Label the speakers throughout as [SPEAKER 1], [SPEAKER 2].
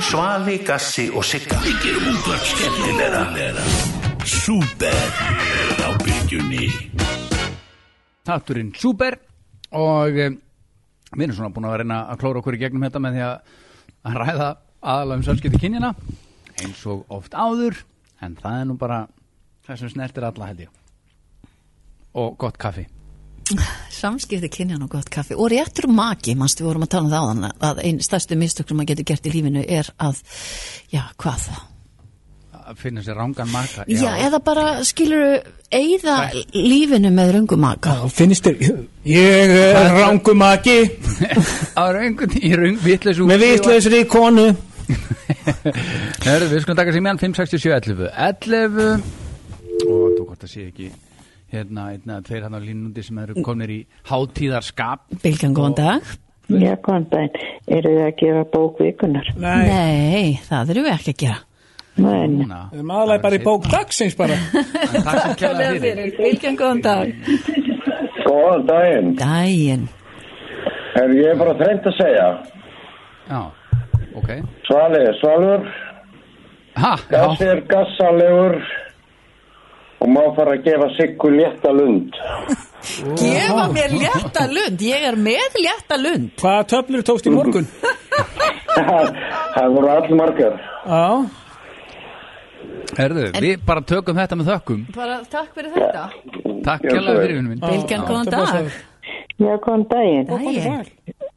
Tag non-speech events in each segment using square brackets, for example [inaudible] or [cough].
[SPEAKER 1] Svali, Gassi og Sigga Við gerum útvarp skemmtilega Súper á byggjunni
[SPEAKER 2] Þátturinn Súper og um, við erum svona búin að reyna að klóra okkur í gegnum þetta með því að, að ræða aðalega um samskipti kynjana eins og oft áður en það er nú bara það sem snertir alla held ég og gott kaffi
[SPEAKER 3] Samskipti kynjan og gott kaffi og réttur maki, mannst við vorum að tala um það áðan að einn stærstu mistök sem maður getur gert í lífinu er að, já, hvað
[SPEAKER 2] að finna sér rangan maka
[SPEAKER 3] Já, eða bara skilur eigða lífinu með röngum maka
[SPEAKER 4] Já, finnst þér Ég er
[SPEAKER 2] [laughs]
[SPEAKER 4] rangumaki
[SPEAKER 2] á röngun í röng vitleis
[SPEAKER 4] með vitlausri konu
[SPEAKER 2] Hörðu, við skulum taka símjan 567 11 11 og þú hvort að sé ekki hérna, hérna, þeir hann á línundi sem eru komnir í hátíðarskap
[SPEAKER 3] Bilgjan, góðan dag
[SPEAKER 5] Já, góðan daginn. Eru þið að gefa bók
[SPEAKER 4] [laughs]
[SPEAKER 5] vikunar?
[SPEAKER 3] Nei, það erum við ekki að gera
[SPEAKER 5] Nei, nei.
[SPEAKER 2] Núna.
[SPEAKER 4] Við erum aðalega bara í bók dagsins bara
[SPEAKER 2] En Takk sem kjæla fyrir
[SPEAKER 3] Bilgjan, góðan dag
[SPEAKER 6] Góðan daginn.
[SPEAKER 3] Dæin,
[SPEAKER 6] Er ég bara þrengt að segja?
[SPEAKER 2] Já, ok
[SPEAKER 6] Svali er svalur,
[SPEAKER 2] Ha,
[SPEAKER 6] gassi
[SPEAKER 2] já,
[SPEAKER 6] er gassalegur og má fara að gefa sikku létta lund.
[SPEAKER 3] gefa mér létta lund ég er með létta lund
[SPEAKER 4] Hvaða töflur tókst í morgun?
[SPEAKER 6] [laughs] það voru allmargar.
[SPEAKER 4] Já,
[SPEAKER 2] hörðu, við bara tökum þetta með þökkum
[SPEAKER 3] Bara takk fyrir þetta [laughs]
[SPEAKER 2] Takk
[SPEAKER 6] Já,
[SPEAKER 2] kjæla
[SPEAKER 6] svo er.
[SPEAKER 2] fyrir vinnum minn
[SPEAKER 3] Bilgjan, góðan
[SPEAKER 4] þetta var
[SPEAKER 3] dag
[SPEAKER 5] Já, góðan daginn.
[SPEAKER 3] Dæin,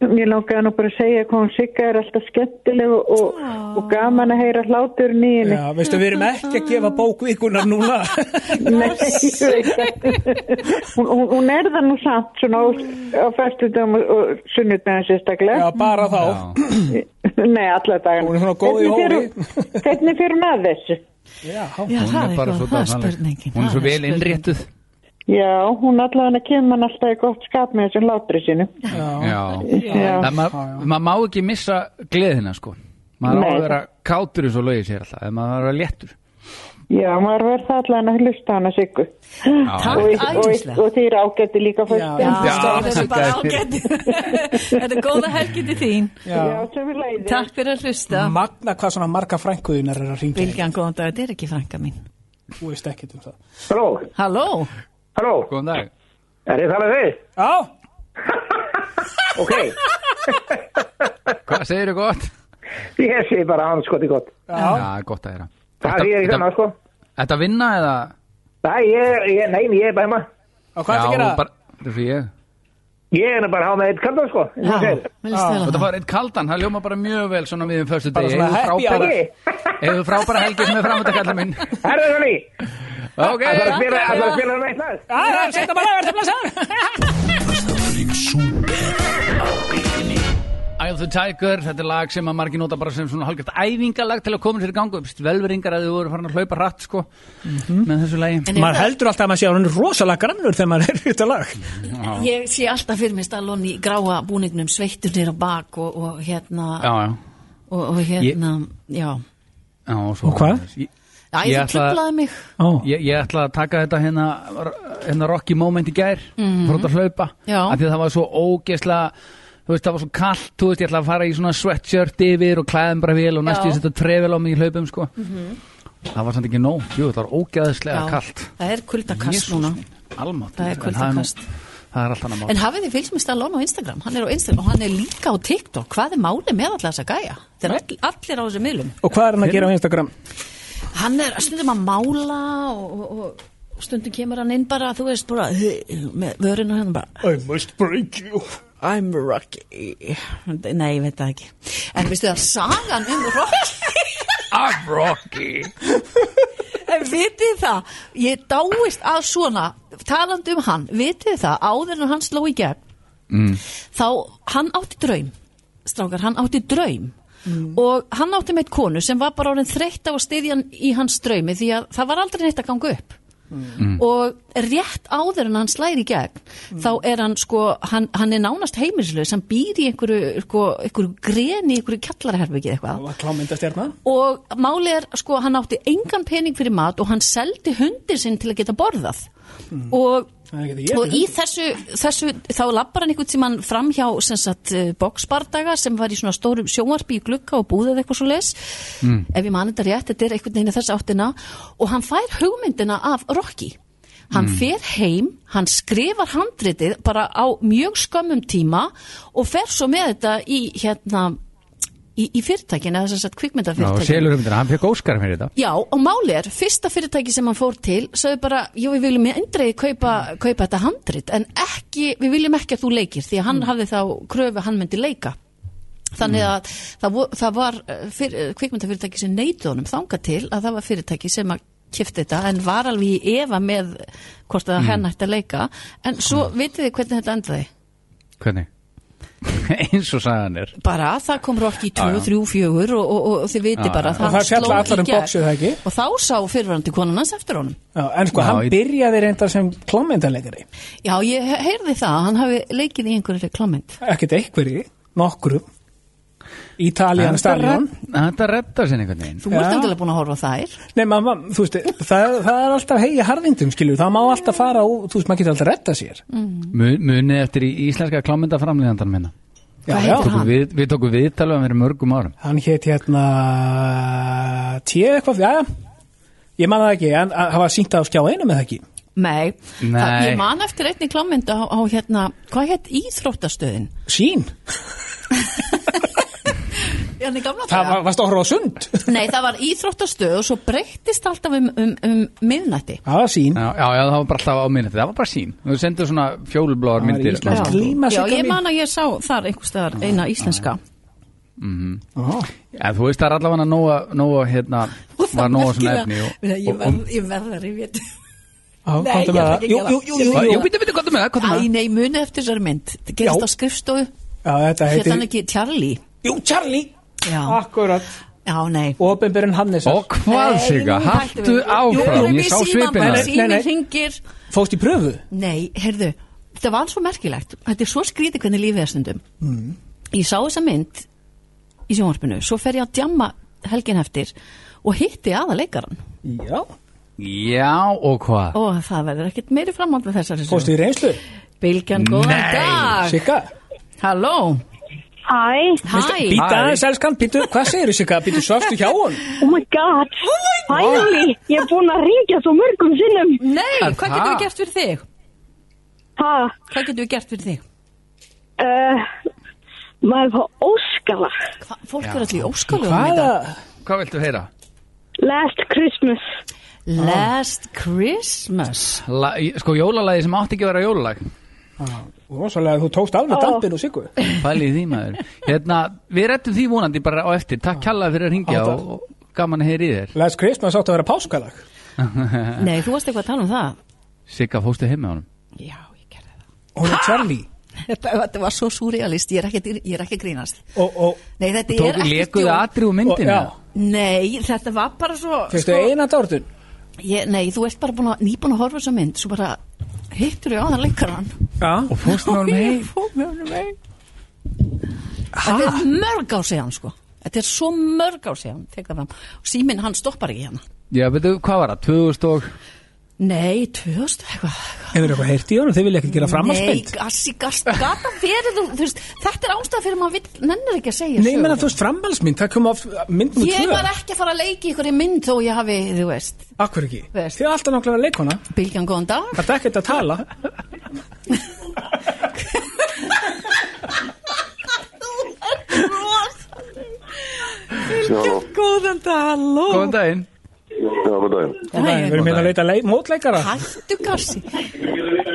[SPEAKER 5] Mér langaði nú bara að segja hvað hún sigga er alltaf skemmtileg og, og, og gaman að heyra hlátur nýjini.
[SPEAKER 4] Já, veistu, við erum ekki að gefa bók vikunar núna
[SPEAKER 5] Nei, ég veit ekki. hún, hún, hún er það nú samt svona á, á festudum og, og sunnudum
[SPEAKER 4] Já,
[SPEAKER 5] sérstaklega.
[SPEAKER 4] bara þá
[SPEAKER 2] Já,
[SPEAKER 5] [clears throat] Nei, alla daginn.
[SPEAKER 4] Hún er svona góð í hófi.
[SPEAKER 5] Hvernig fyrir hún að þessu?
[SPEAKER 4] Já,
[SPEAKER 3] já
[SPEAKER 2] hún
[SPEAKER 3] það
[SPEAKER 2] er
[SPEAKER 3] er
[SPEAKER 2] bara
[SPEAKER 3] góð,
[SPEAKER 2] svo
[SPEAKER 3] það er
[SPEAKER 2] dásamleg.
[SPEAKER 3] spurningin
[SPEAKER 2] Hún er svo
[SPEAKER 3] það
[SPEAKER 2] vel
[SPEAKER 3] spurningin.
[SPEAKER 2] innréttuð
[SPEAKER 5] Já, hún allavega kemur hann alltaf í gott skap með þessum hlátri sínu.
[SPEAKER 2] Já,
[SPEAKER 5] Já.
[SPEAKER 2] það maður ma má ekki missa gleðina sko Maður á
[SPEAKER 5] Nei.
[SPEAKER 2] að vera kátur eins og lögir sér alltaf Ef maður á að vera léttur
[SPEAKER 5] Já, maður verður það allan að hlusta hana siggu.
[SPEAKER 3] Takk,
[SPEAKER 5] Og, og,
[SPEAKER 3] æðislega
[SPEAKER 5] og þeir ágætti líka fyrst.
[SPEAKER 4] Já.
[SPEAKER 3] Já,
[SPEAKER 2] Já,
[SPEAKER 3] þessu
[SPEAKER 2] þakka
[SPEAKER 3] bara
[SPEAKER 2] þér
[SPEAKER 3] ágætt Þetta er góða helgi til þín
[SPEAKER 4] já.
[SPEAKER 5] sem við leiðum.
[SPEAKER 3] Takk fyrir að hlusta
[SPEAKER 4] Magna hvað svona marga frænkuðunar er að ringja
[SPEAKER 3] Viljan, góðan dag, þetta er ekki franka mín
[SPEAKER 4] Þú veist ekkert um það
[SPEAKER 7] Halló,
[SPEAKER 3] Halló,
[SPEAKER 7] halló,
[SPEAKER 2] Góðan dag
[SPEAKER 7] er ég talað við?
[SPEAKER 4] Já,
[SPEAKER 7] [laughs] Ok,
[SPEAKER 2] Hvað segirðu gott?
[SPEAKER 7] ég sé bara hans gott í gott.
[SPEAKER 4] já,
[SPEAKER 2] Já, gott að heyra
[SPEAKER 7] Það er ég í þannig,
[SPEAKER 2] þetta,
[SPEAKER 7] sko.
[SPEAKER 2] þetta vinna eða
[SPEAKER 7] Nei, ég, ég, nei, ég er bara heima.
[SPEAKER 4] og hvað er að gera?
[SPEAKER 2] bara, þetta er svo ég
[SPEAKER 7] Ég er nú bara að hafa með eitt kaldan, sko. eins
[SPEAKER 3] já,
[SPEAKER 7] og þú segir.
[SPEAKER 3] mér líst vel á
[SPEAKER 2] Þetta
[SPEAKER 3] það
[SPEAKER 2] var eitt kaldan, það ljóma bara mjög vel svona við um förstu
[SPEAKER 4] Bara
[SPEAKER 2] degi
[SPEAKER 4] svona happy
[SPEAKER 2] frábæra,
[SPEAKER 7] hour.
[SPEAKER 2] Eða frábæra helgi sem er framönda kallar minn
[SPEAKER 7] Herðu það ný,
[SPEAKER 2] Ok,
[SPEAKER 7] það er að spila, það er að spila með eitt lag.
[SPEAKER 4] Já, já, setja bara að verða blessaður
[SPEAKER 2] Eye of the Tiger, þetta er lag sem að margir nota bara sem svona halgjart æfingalag til að koma sér í gangu velveringar að þau voru farin að hlaupa hratt sko
[SPEAKER 3] Mhm.
[SPEAKER 2] með þessu lagi
[SPEAKER 3] En
[SPEAKER 4] Maður
[SPEAKER 3] er,
[SPEAKER 4] heldur alltaf að maður sé að hún er rosalega grannur þegar maður er í þetta lag
[SPEAKER 3] það- ég sé alltaf fyrir mér Stallón í gráa búningnum sveittur nýra bak og, og hérna
[SPEAKER 2] Já, já,
[SPEAKER 3] og, og hérna, já
[SPEAKER 2] já og svo
[SPEAKER 4] Og hvað?
[SPEAKER 2] Ég,
[SPEAKER 3] Æ,
[SPEAKER 2] Ég
[SPEAKER 3] þú
[SPEAKER 2] ætla-
[SPEAKER 3] trublaði mig
[SPEAKER 4] Ó.
[SPEAKER 2] ég, ég ætla að taka þetta hérna, hérna Rocky moment í gær mm. frá þetta hlaupa
[SPEAKER 3] Mhm. Já.
[SPEAKER 2] af því að það var svo ógesla þú veist það var svo kallt, þú veist ég ætla að fara í svona sweatshirt yfir og klæðum bara vel og næstu
[SPEAKER 3] Já.
[SPEAKER 2] setja trefil á mig í hlaupum sko það var samt ekki nóg, jú það var ógeðslega
[SPEAKER 3] Já,
[SPEAKER 2] kallt
[SPEAKER 3] Það er kuldakast
[SPEAKER 2] Jesús
[SPEAKER 3] núna
[SPEAKER 2] minn, almáttugur,
[SPEAKER 3] Það er kuldakast.
[SPEAKER 2] en það er nú- það er allt annað mál
[SPEAKER 3] En hafið þið fylgst með Stallón á Instagram? Hann er á Instagram og hann er líka á TikTok Hvað er málið með allar þess að gæja? Það er all, allir á þessu miðlum
[SPEAKER 4] Og hvað er hann að gera á Instagram?
[SPEAKER 3] Hann er stundum að mála og, og, og, og stundum kemur hann inn bara, þú veist, bara með vörinu hann bara
[SPEAKER 4] I must break you
[SPEAKER 3] I'm Rocky Nei, ég veit það ekki En veistu það, sagan um Rocky
[SPEAKER 2] I'm Rocky
[SPEAKER 3] En vitið það, ég dáist að svona talandi um hann, vitið það áður en hann sló í gegn Mm. þá, hann átti draum strákar, hann átti draum og hann átti meitt konu sem var bara orðin þreytt á að styðja hann í hans draumi því að það var aldrei neitt að ganga upp
[SPEAKER 4] Mm.
[SPEAKER 3] og rétt áður en hann slæri í gegn þá
[SPEAKER 4] Mm.
[SPEAKER 3] er hann sko hann, hann er nánast heimilislaus, hann býr í einhverju, sko, einhverju greni, í einhverju kjallarherbyggið eitthvað
[SPEAKER 4] Það var klámyndastjarnar
[SPEAKER 3] og málið er sko hann átti engan pening fyrir mat og hann seldi hundin sinn til að geta borðað og
[SPEAKER 4] Mm. Það er ekki
[SPEAKER 3] og
[SPEAKER 4] það
[SPEAKER 3] í
[SPEAKER 4] ég
[SPEAKER 3] þessu, þessu þá lappar hann einhvern tímann fram hjá sem sagt, eh, boxbardaga sem var í svona stórum sjónvarpi í glugga og búðið eitthvað svo les
[SPEAKER 4] Mm.
[SPEAKER 3] ef ég mani þetta rétt, þetta er einhvern veginn í þess áttina og hann fær hugmyndina af Rocky hann fer heim, hann skrifar handritið bara á mjög skömmum tíma og fer svo með þetta í hérna í, í fyrirtækinu, eða sem sagt
[SPEAKER 2] Já,
[SPEAKER 3] kvikmyndafyrirtækinu
[SPEAKER 2] selur um hann fekk óskar fyrir þetta
[SPEAKER 3] Já, og máli er, fyrsta fyrirtæki sem hann fór til sagði bara, jú, við viljum eindreiði kaupa, kaupa þetta handrit, en ekki, við viljum ekki að þú leikir, því að hann hafði þá kröfu að hann myndi leika. Þannig að það, vo- það var eh, fyr, eh, kvikmyndafyrirtæki sem neytu honum þanga til að það var fyrirtæki sem að kifti þetta en var alveg í efa með hvort að hann ætti að leika en svo vitið þið hvernig þetta endaði
[SPEAKER 2] Hvernig? [laughs] Eins og sagðan er
[SPEAKER 3] bara það kom Rocky 2, 3, 4 og, og, og, og þið vitið bara
[SPEAKER 4] Og
[SPEAKER 3] það
[SPEAKER 4] það fjalla allar um
[SPEAKER 3] gegn.
[SPEAKER 4] boxið, það ekki?
[SPEAKER 3] og þá sá fyrirvörandi konan hans eftir honum
[SPEAKER 4] Já, en sko,
[SPEAKER 2] Já,
[SPEAKER 4] hann
[SPEAKER 2] ég-
[SPEAKER 4] byrjaði reyndar sem klámyndanleikari
[SPEAKER 3] Já, ég he- heyrði það, hann hafi leikið í einhverju reklammynd.
[SPEAKER 4] Ekkert einhverju, nokkru Ítalían,
[SPEAKER 2] Þetta
[SPEAKER 4] Stalíon
[SPEAKER 2] redd- Þetta reddar sér einhvern veginn
[SPEAKER 3] Þú ert
[SPEAKER 4] Já.
[SPEAKER 3] endilega búin að horfa á þær.
[SPEAKER 4] Nei, mamma, þú veist, það, það er alltaf hegi harðindum, skilju, það má alltaf fara og, þú veist, maður getur alltaf að retta sér
[SPEAKER 3] Mm.
[SPEAKER 2] Mu- Munið eftir í íslenska klámyndaframlýðandan minna
[SPEAKER 4] Já, já,
[SPEAKER 3] Hvað heitir
[SPEAKER 2] Tókum
[SPEAKER 3] Hann.
[SPEAKER 2] við, við tókum viðtalið um fyrir mörgum árum
[SPEAKER 4] hann hétt hérna T eitthvað, já, já Ég man það ekki, en að- það var sínt á skjá einu með það ekki
[SPEAKER 3] Nei,
[SPEAKER 2] Nei.
[SPEAKER 3] Það, ég man eftir einni klammynd á, á hérna, hvað hétt Íþróttastöðin?
[SPEAKER 4] Sín,
[SPEAKER 3] Já, nei, gamla
[SPEAKER 4] það var, varst að horfa á sund
[SPEAKER 3] Nei, það var Íþróttastöð og svo breyttist alltaf um, um, um miðnætti.
[SPEAKER 4] Það var sín
[SPEAKER 2] Já, já, já, það var bara alltaf á minni Það var bara sín Þú sendur svona
[SPEAKER 4] Það
[SPEAKER 2] fjólubláar
[SPEAKER 4] var
[SPEAKER 2] myndir
[SPEAKER 4] íslensk
[SPEAKER 2] Já.
[SPEAKER 4] glíma,
[SPEAKER 3] Já,
[SPEAKER 4] Sigga
[SPEAKER 3] ég
[SPEAKER 4] mín.
[SPEAKER 3] man að ég sá þar einhverstaðar eina íslenska.
[SPEAKER 4] Ó,
[SPEAKER 2] En Mhm. þú veist það er allavega nóga, nóga hérna, var nóga svona efni og,
[SPEAKER 3] Ég
[SPEAKER 2] og, og,
[SPEAKER 3] verð- ég verð þar, ég veit.
[SPEAKER 4] á, komdu
[SPEAKER 3] Nei, ég
[SPEAKER 4] með
[SPEAKER 3] ætla
[SPEAKER 4] það. Jú,
[SPEAKER 3] ekki að gera
[SPEAKER 4] jú,
[SPEAKER 3] það.
[SPEAKER 4] jú, jú,
[SPEAKER 2] Æ,
[SPEAKER 4] jú.
[SPEAKER 2] jú, býttu, býttu, komdu með það, komdu með
[SPEAKER 3] Æ,
[SPEAKER 2] það
[SPEAKER 3] nei, muni eftir þessari mynd. Það gerist
[SPEAKER 4] Já.
[SPEAKER 3] á skrifstofu,
[SPEAKER 4] Já, þetta
[SPEAKER 3] hétt hann
[SPEAKER 4] heitir
[SPEAKER 3] ekki Charlie.
[SPEAKER 4] Jú, Charlie
[SPEAKER 3] Já,
[SPEAKER 4] Akkurat
[SPEAKER 3] já, nei.
[SPEAKER 4] Opinberinn Hannes
[SPEAKER 2] Og hvað,
[SPEAKER 3] Nei,
[SPEAKER 2] Sigga,
[SPEAKER 3] nú hættum
[SPEAKER 2] hattu
[SPEAKER 3] við. Jú,
[SPEAKER 2] áfram
[SPEAKER 3] erum
[SPEAKER 2] Ég
[SPEAKER 3] í
[SPEAKER 2] sá
[SPEAKER 3] símann
[SPEAKER 2] svipina
[SPEAKER 3] bara,
[SPEAKER 4] Nei, nei,
[SPEAKER 3] síminn
[SPEAKER 4] nei.
[SPEAKER 3] hringir.
[SPEAKER 4] Fóst í pröfu
[SPEAKER 3] Nei, heyrðu, þetta var svo merkilegt Þetta er svo skrítið hvernig lífið er stundum
[SPEAKER 2] Mm.
[SPEAKER 3] Ég sá þessa mynd í sjónvarpinu, svo fer ég að djamma helgin eftir og hitti aða leikaran
[SPEAKER 4] Já
[SPEAKER 2] Já, og hvað?
[SPEAKER 3] og það verður ekkert meiri framhald með þessari sögu.
[SPEAKER 4] Fóst í reynslu
[SPEAKER 3] Bylgjan, góðan
[SPEAKER 2] Nei.
[SPEAKER 3] dag
[SPEAKER 4] Sigga
[SPEAKER 3] Halló,
[SPEAKER 5] Æ,
[SPEAKER 3] hæ
[SPEAKER 4] Býta
[SPEAKER 2] Hæ.
[SPEAKER 4] aðeins elskan, býtu, hvað segirðu Sigga? Býtu, svafstu hjá hún?
[SPEAKER 5] oh my god, finally, ég er búin að ringja svo mörgum sinnum.
[SPEAKER 3] Nei,
[SPEAKER 2] Er
[SPEAKER 3] hvað
[SPEAKER 2] það?
[SPEAKER 3] getum við gert fyrir þig?
[SPEAKER 5] Ha,
[SPEAKER 3] Hvað getum við gert fyrir þig?
[SPEAKER 5] uh, maður fá óskala.
[SPEAKER 3] Hva, fólk er allir óskalugum í
[SPEAKER 4] Hvaða?
[SPEAKER 3] dag
[SPEAKER 2] Hvað viltu heyra?
[SPEAKER 5] Last Christmas.
[SPEAKER 3] Last Christmas
[SPEAKER 2] La, sko, jólalagi sem átti ekki að vera jólalag
[SPEAKER 4] Rósalega, þú tókst alveg dampin og siggu
[SPEAKER 2] Pælið í því maður Hérna, við rettum því vonandi bara á eftir Takk kjallaði fyrir að
[SPEAKER 4] Á,
[SPEAKER 2] ringja
[SPEAKER 4] takk.
[SPEAKER 2] og, og gaman að heyra í þér
[SPEAKER 4] Last Christmas átti að vera páskalag
[SPEAKER 3] Nei, þú varst eitthvað að tala um það
[SPEAKER 2] [laughs] Sigga, fóstu heim með honum
[SPEAKER 3] Já, ég gerði það
[SPEAKER 4] Hún er Charlie
[SPEAKER 3] Þetta, þetta var svo surrealist, ég er ekki, ég er ekki að grínast
[SPEAKER 4] Og, og
[SPEAKER 3] Nei, þetta er
[SPEAKER 2] Tóku
[SPEAKER 3] ekki
[SPEAKER 2] lekuðu
[SPEAKER 3] djók.
[SPEAKER 2] atri úr
[SPEAKER 4] og-
[SPEAKER 2] myndinu
[SPEAKER 4] já.
[SPEAKER 2] eða?
[SPEAKER 3] Nei, þetta var bara svo sko,
[SPEAKER 4] Fyrstu eina dórtun
[SPEAKER 3] ég, Nei, þú ert bara búin að, nýbúin að horfa svo mynd Svo bara hittur ég á það leikaran
[SPEAKER 4] Já
[SPEAKER 2] Og fórstu með honum heim
[SPEAKER 3] Ég fór með honum heim. Þetta er mörg ár síðan sko Þetta er svo mörg ár síðan tekur það. Og síminn hann stoppar ekki hérna
[SPEAKER 2] Já, veitu, hvað var það? 2000 og
[SPEAKER 3] Nei, 2000 eitthvað
[SPEAKER 4] Hefur eitthvað heyrt í honum, þið vilja ekkert gera
[SPEAKER 3] Nei,
[SPEAKER 4] framhaldsmynd
[SPEAKER 3] gassi, gassi, gata fyrir þú, þú veist, Þetta er ástæða fyrir maður vill, nennir ekki að segja
[SPEAKER 4] Nei,
[SPEAKER 3] sögur.
[SPEAKER 4] menna þú veist framhaldsmynd, það kom af myndinu
[SPEAKER 3] Ég
[SPEAKER 4] tvö
[SPEAKER 3] var ekki að fara að leiki ykkur í mynd þó ég hafi, þú veist,
[SPEAKER 4] Akkur ekki,
[SPEAKER 3] Veist.
[SPEAKER 4] þið er alltaf nákvæmlega leikona
[SPEAKER 3] bylgjan góðan dag
[SPEAKER 4] Það er ekkert að [laughs] tala
[SPEAKER 3] Góðan dag, halló
[SPEAKER 2] Góðan daginn
[SPEAKER 8] Já, hvað daginn?
[SPEAKER 4] Nei, Við erum hérna að leita leik, mótleikara
[SPEAKER 3] Hættu gassi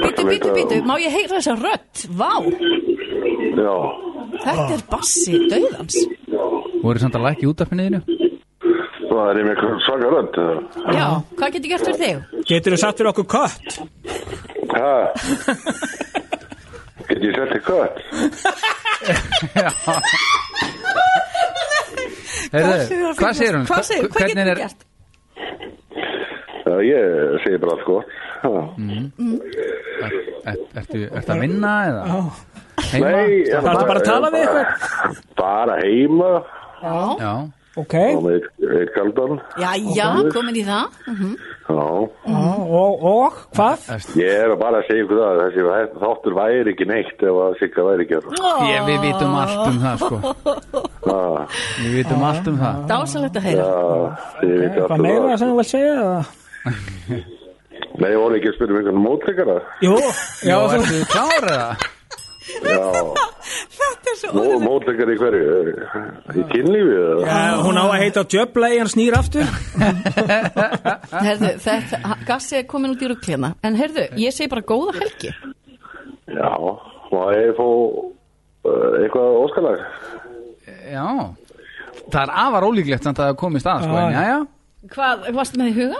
[SPEAKER 3] Býtu, býtu, býtu, má ég heyra þessa rödd Vá,
[SPEAKER 8] Já,
[SPEAKER 3] þetta er bassi döðans
[SPEAKER 2] Voru samt að lækja út af henniðinu?
[SPEAKER 8] það er ég með eitthvað svaka rödd. eða?
[SPEAKER 3] Já, hvað getur gert fyrir þig?
[SPEAKER 4] Getur þú satt fyrir okkur kött? [laughs]
[SPEAKER 8] Ha? Get ég sett þig kött?
[SPEAKER 2] Hvað segir hún?
[SPEAKER 3] Hvað segir, hvað getur
[SPEAKER 2] Hvernig
[SPEAKER 3] þú
[SPEAKER 2] er-
[SPEAKER 3] gert?
[SPEAKER 8] Já, ég segi bara allt sko. gott. Mm.
[SPEAKER 2] Er- Ertu ertu að vinna eða?
[SPEAKER 4] Já.
[SPEAKER 2] Heima?
[SPEAKER 8] Nei,
[SPEAKER 4] Þarftu bara að tala við
[SPEAKER 8] Bara heima.
[SPEAKER 3] Já,
[SPEAKER 2] Já,
[SPEAKER 4] ok,
[SPEAKER 8] og með eitt- eitt kaldan.
[SPEAKER 3] Jæja, komin í það Mhm.
[SPEAKER 8] Já,
[SPEAKER 4] já, og, og hvað?
[SPEAKER 8] ég er að bara að segja ykkur það, að þessi þáttur væri ekki neitt ef að Sigga væri ekki hérna.
[SPEAKER 2] Ég, við vitum allt um það sko
[SPEAKER 8] Já,
[SPEAKER 2] Við vitum allt um það
[SPEAKER 3] Dásalegt að heyra
[SPEAKER 8] já, þið viti
[SPEAKER 4] Eitthvað
[SPEAKER 8] alltaf
[SPEAKER 4] meira
[SPEAKER 8] það.
[SPEAKER 4] sem þú vilt segja? eða?
[SPEAKER 8] Nei, ég voru ekki að spyrja um einhvern mótleikara.
[SPEAKER 4] Jú, já,
[SPEAKER 2] Já,
[SPEAKER 4] þú
[SPEAKER 2] ertu klára það?
[SPEAKER 8] Já,
[SPEAKER 3] Þetta er svo
[SPEAKER 8] mó- mótleikari í hverju? Í kynlífið eða?
[SPEAKER 4] Eh, Hún á að heita Djöbla í hann snýr aftur
[SPEAKER 3] Herðu, þetta, ha- Gassi er komin út í rugglina En herðu, ég segi bara góða helgi
[SPEAKER 8] Já, má ég fó uh, eitthvað óskalag?
[SPEAKER 2] Já Það er afar ólíklegt samt að það komist að sko,
[SPEAKER 4] Já,
[SPEAKER 2] en
[SPEAKER 4] já.
[SPEAKER 2] jæja
[SPEAKER 3] Hvað, varstu með í huga?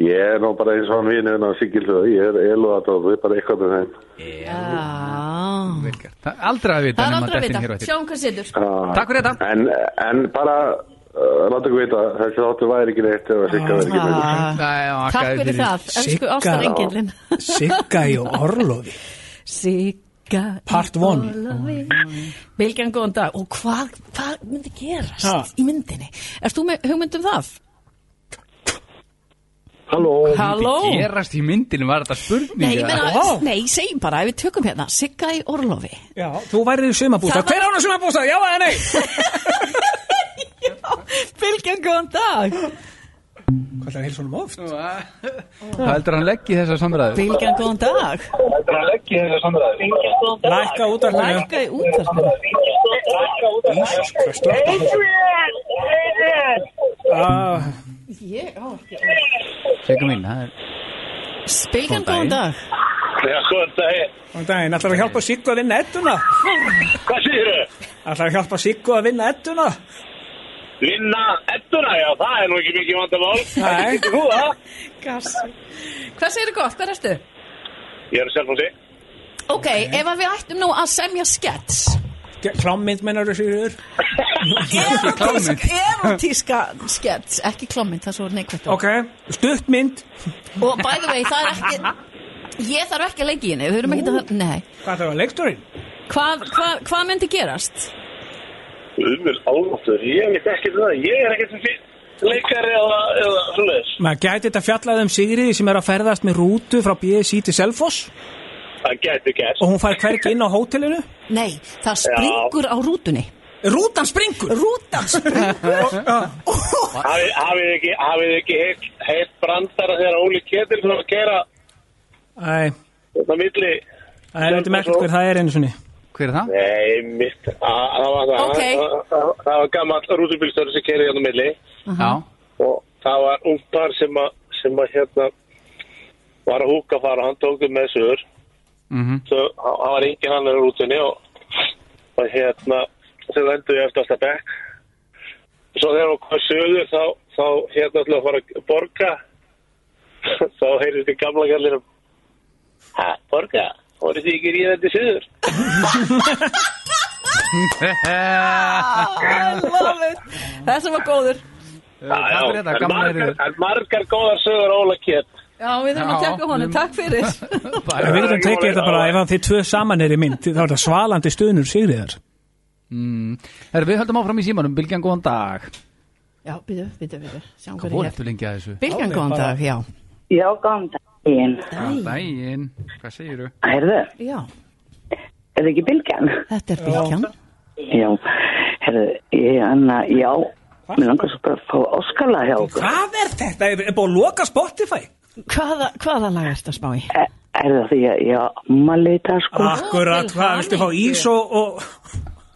[SPEAKER 8] Ég er nú bara eins og hann vinur hennar Sigildu, ég er elu að það, bara eitthvað með þeim.
[SPEAKER 3] Ah. Já
[SPEAKER 2] Vel gert. Það er aldrei að vita
[SPEAKER 3] Það er
[SPEAKER 2] nema
[SPEAKER 3] aldrei að
[SPEAKER 2] dettin hér á
[SPEAKER 3] vita,
[SPEAKER 2] eftir.
[SPEAKER 3] sjáum hvað setur
[SPEAKER 8] Já.
[SPEAKER 2] Takk fyrir þetta
[SPEAKER 8] Ah, En, en bara, uh, láta ykkur vita, þessi þáttur væri ekki neitt ef að Sigga væri ekki neitt.
[SPEAKER 3] Ah,
[SPEAKER 2] Nei, já,
[SPEAKER 3] Takk
[SPEAKER 2] þakkaði
[SPEAKER 3] fyrir það, elsku
[SPEAKER 4] Sigga.
[SPEAKER 3] ástarengilin
[SPEAKER 4] Sigga í orlofi
[SPEAKER 3] Sigga
[SPEAKER 4] Part
[SPEAKER 3] í
[SPEAKER 4] one.
[SPEAKER 3] Hólavi. Vilkjan góðan dag Og hvað, hvað myndi gerast
[SPEAKER 4] Ha.
[SPEAKER 3] í myndinni? Erst þú með hugmyndum það?
[SPEAKER 8] Halló,
[SPEAKER 3] Halló
[SPEAKER 2] Þetta gerast í myndinu, var þetta spurning?
[SPEAKER 3] Nei, ég meina,
[SPEAKER 4] Vá.
[SPEAKER 3] nei, segjum bara, ef við tökum hérna Sigga í Orlofi
[SPEAKER 4] Já, þú værið í sumabústað,
[SPEAKER 3] Það var-
[SPEAKER 4] hver ána sumabústað, já eða
[SPEAKER 3] [laughs]
[SPEAKER 4] nei
[SPEAKER 3] Vilkjan góðan dag
[SPEAKER 4] Hvað er að heilsa honum oft?
[SPEAKER 2] Hvað heldur hann legg í þessa samræðu?
[SPEAKER 3] Vilkjan góðan dag
[SPEAKER 7] Þetta er að leggja þessa samræði.
[SPEAKER 3] Bylgjan, góðan dag.
[SPEAKER 4] Lækka útvarpinu.
[SPEAKER 3] Lækka í útvarpinu
[SPEAKER 4] Ísus, hvað slökkt á þessu? Ah,
[SPEAKER 3] Ég á ekki
[SPEAKER 2] Sekum inn, það er
[SPEAKER 3] Vilkjan góðan dag
[SPEAKER 6] Já, góðan daginn.
[SPEAKER 4] Góðan daginn, ætlar að hjálpa Siggu að vinna ettuna?
[SPEAKER 6] Hvað séu þau?
[SPEAKER 4] Ætlar að hjálpa Siggu að vinna ettuna?
[SPEAKER 6] Vinna ettuna, já, það er nú ekki mikið vandamál.
[SPEAKER 4] Nei.
[SPEAKER 6] Ekki þú það?
[SPEAKER 3] Gassi. Hvað segirðu gott, hvað erstu?
[SPEAKER 6] Ég er sjálf hún sig.
[SPEAKER 3] Ok, ef að við ættum nú að semja skets
[SPEAKER 4] Klámynd mennar þessu yfir
[SPEAKER 2] Ekki klámynd.
[SPEAKER 3] Erotíska skets Ekki klámynd, það er svo neikvætt
[SPEAKER 4] Ok, stuttmynd
[SPEAKER 3] Og by the way, það er ekki Ég þarf ekki að leika í henni, við höfum ekki að Nei,
[SPEAKER 4] Hvað það var leiksturinn?
[SPEAKER 3] hvað hva, hva myndi gerast?
[SPEAKER 6] Umul álóttur, ég veit ekki um það. Ég er ekkert sem fyrir leikari eða, eða svoleiðis.
[SPEAKER 4] Maður gæti þetta fjallað um Sigriði sem er að ferðast með rútu frá BSI til Selfoss
[SPEAKER 6] Það gæti gert.
[SPEAKER 4] og hún fær hvergi inn á hótelinu
[SPEAKER 3] Nei, það springur á rútunni
[SPEAKER 4] Rútan springur
[SPEAKER 3] Rútan
[SPEAKER 4] [laughs]
[SPEAKER 3] springur
[SPEAKER 6] Hafið hafið ekki, hafið ekki heilt, heilt brandara þegar Óli Ketil frá að kera
[SPEAKER 4] Æ,
[SPEAKER 6] þetta milli.
[SPEAKER 4] það er eitthvað merkilt hver það er einu sinni
[SPEAKER 2] Hver er það?
[SPEAKER 6] Nei, mitt, að- það var það.
[SPEAKER 3] Ok.
[SPEAKER 6] að- að- Það var gammal rútubílstöru sem kerið hérna á milli
[SPEAKER 2] Já,
[SPEAKER 6] og það var ungt par sem að, sem að hérna var að húka fara og hann tók um með sögur.
[SPEAKER 2] mhm,
[SPEAKER 6] Svo hann hann var engin annar á rútunni og, og hérna, þau lendu í eftir alltaf bekk. Svo þegar hann kom sögur þá, þá hérna ætlaði að fara að borga. [laughs] þá heyrðist í gamla kallinum. Hæ, borga? Voruð þið ekki ríðandi [laughs] sögur?
[SPEAKER 3] Þessum var góður
[SPEAKER 2] Takk fyrir þetta,
[SPEAKER 6] en,
[SPEAKER 2] gaman að
[SPEAKER 6] margar,
[SPEAKER 2] heyra
[SPEAKER 6] en margar góðar sögur Óla Kjett.
[SPEAKER 3] Já, við þurfum að
[SPEAKER 2] Já.
[SPEAKER 3] tekja honum, takk fyrir
[SPEAKER 2] þér.
[SPEAKER 4] Við
[SPEAKER 2] Bara-
[SPEAKER 4] getum tekið þetta bara ef að þið tvö saman er í mynd þá er það svalandi stuðnur Sigriðar
[SPEAKER 2] Mm. Herra, Við höldum áfram í símanum, Bilgjan, góðan dag
[SPEAKER 3] Já, byrju, byrju, byrju Sjáum
[SPEAKER 2] Hvað
[SPEAKER 3] hverju
[SPEAKER 2] voru
[SPEAKER 3] hér
[SPEAKER 2] eftir lengi að þessu?
[SPEAKER 3] Bilgjan góðan dag, já
[SPEAKER 5] Já, góðan daginn.
[SPEAKER 2] Góðan daginn, hvað segiru?
[SPEAKER 5] Herðu,
[SPEAKER 3] Já,
[SPEAKER 5] er það ekki bylgjan?
[SPEAKER 3] þetta er Bilgjan
[SPEAKER 5] Já, herðu, ég, anna, já, mér langar svo bara að fá áskala hjá okkur.
[SPEAKER 4] Hvað er þetta? Er, er búið að loka Spotify?
[SPEAKER 3] Hvaða, hvaða lag ert að spá í?
[SPEAKER 5] Er, er það því að ég á ammali í dag, sko?
[SPEAKER 4] Akkurat,
[SPEAKER 3] til
[SPEAKER 4] hvað, viltu fá ís og, og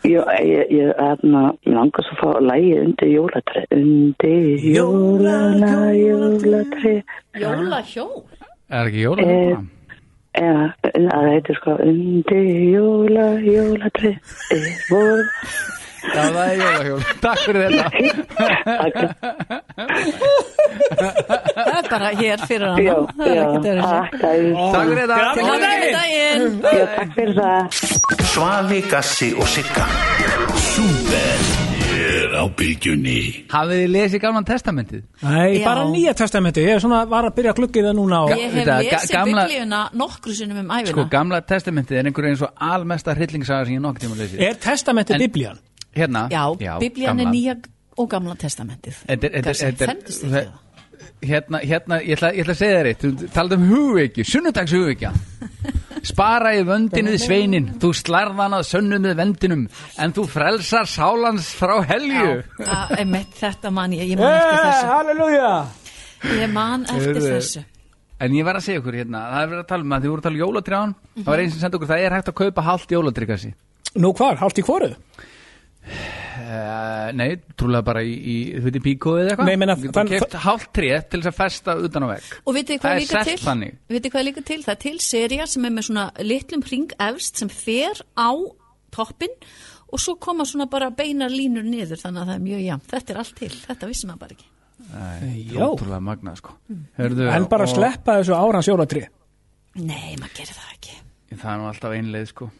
[SPEAKER 5] Já, ég, ég, hérna, mér langar svo að fá lægið undir jólatri. Undir jólana, jólatri.
[SPEAKER 3] Jóla hjól
[SPEAKER 2] Er ekki jóla þetta?
[SPEAKER 5] Eða, eða, það heitir sko, undir jóla, jólatri. Er vor.
[SPEAKER 2] Já, það er [laughs] jólahjól, takk fyrir þetta
[SPEAKER 3] Það er bara hér fyrir hann
[SPEAKER 5] Já,
[SPEAKER 3] Það er
[SPEAKER 5] já,
[SPEAKER 3] ekkert að
[SPEAKER 5] takk, dæði.
[SPEAKER 2] Takk fyrir þetta
[SPEAKER 4] Til hamingju.
[SPEAKER 3] Góðan daginn
[SPEAKER 5] Já, takk fyrir það.
[SPEAKER 1] Svavi, Gassi og Sigga
[SPEAKER 9] Súper er á bylgjunni
[SPEAKER 2] Hafið þið lesið gamlan testamentið?
[SPEAKER 4] Nei,
[SPEAKER 3] Já.
[SPEAKER 4] bara nýja testamenti Ég er svona var að byrja að glugga í það núna og,
[SPEAKER 3] Ég hef
[SPEAKER 2] Þetta, ga-
[SPEAKER 3] lesið
[SPEAKER 2] gamla-
[SPEAKER 3] Biblíuna nokkru sinnum um æfina
[SPEAKER 2] Sko, gamla testamentið er einhver eins og almesta hryllingssaga sem ég nokkuð tíma lesið
[SPEAKER 4] Er testamenti
[SPEAKER 2] En-
[SPEAKER 4] biblían?
[SPEAKER 2] Hérna?
[SPEAKER 3] Já, biblían er
[SPEAKER 2] gamlan.
[SPEAKER 3] nýja og gamla testamentið
[SPEAKER 2] Þetta er- þetta er-
[SPEAKER 3] Kannski
[SPEAKER 2] þetta er-
[SPEAKER 3] Fermdist ekki það
[SPEAKER 2] Hérna, hérna, ég ætla, ég ætla að segja þér eitt Þú talaði um hugveikju, sunnudags
[SPEAKER 3] [laughs]
[SPEAKER 2] hugveikja Spara í vöndinu við sveinin Þú slarðan að sönnum við vendinum En þú frelsar sálans frá helju
[SPEAKER 3] Já, einmitt, þetta man ég, ég man eftir þessu
[SPEAKER 4] halleluja
[SPEAKER 3] Ég man eftir
[SPEAKER 2] Eh, Heyrðu.
[SPEAKER 3] þessu
[SPEAKER 2] En ég var að segja ykkur hérna Það er verið að tala um að þið voru að tala um jólatrján Það
[SPEAKER 3] Mhm.
[SPEAKER 2] var einn sem sendi okkur, það er hægt að kaupa hálft jólatrykasi
[SPEAKER 4] Nú hvar, hálft í hvoru?
[SPEAKER 2] uh, Nei, trúlega bara í, í þú veitir píkóið eða eitthvað
[SPEAKER 4] Nei, ég meina,
[SPEAKER 2] Þú
[SPEAKER 4] þann-
[SPEAKER 2] getur keypt hálft tré til þess að festa utan á vegg
[SPEAKER 3] Og vitið þið
[SPEAKER 2] Það
[SPEAKER 3] hvað
[SPEAKER 2] er
[SPEAKER 3] er líka
[SPEAKER 2] selt
[SPEAKER 3] til?
[SPEAKER 2] þannig.
[SPEAKER 3] Vitið þið hvað er líka til? Það er til seria sem er með svona litlum hring efst sem fer á toppin og svo koma svona bara beinar línur niður þannig að það er mjög jafn. Þetta er allt til, þetta vissi maður bara ekki.
[SPEAKER 4] Já.
[SPEAKER 2] Ótrúlega magnað sko Hörðu,
[SPEAKER 4] Mm. En bara
[SPEAKER 2] og-
[SPEAKER 4] sleppa þessu árans jólatri
[SPEAKER 3] Nei, maður gerir það ekki.
[SPEAKER 2] Það er nú alltaf einleið sko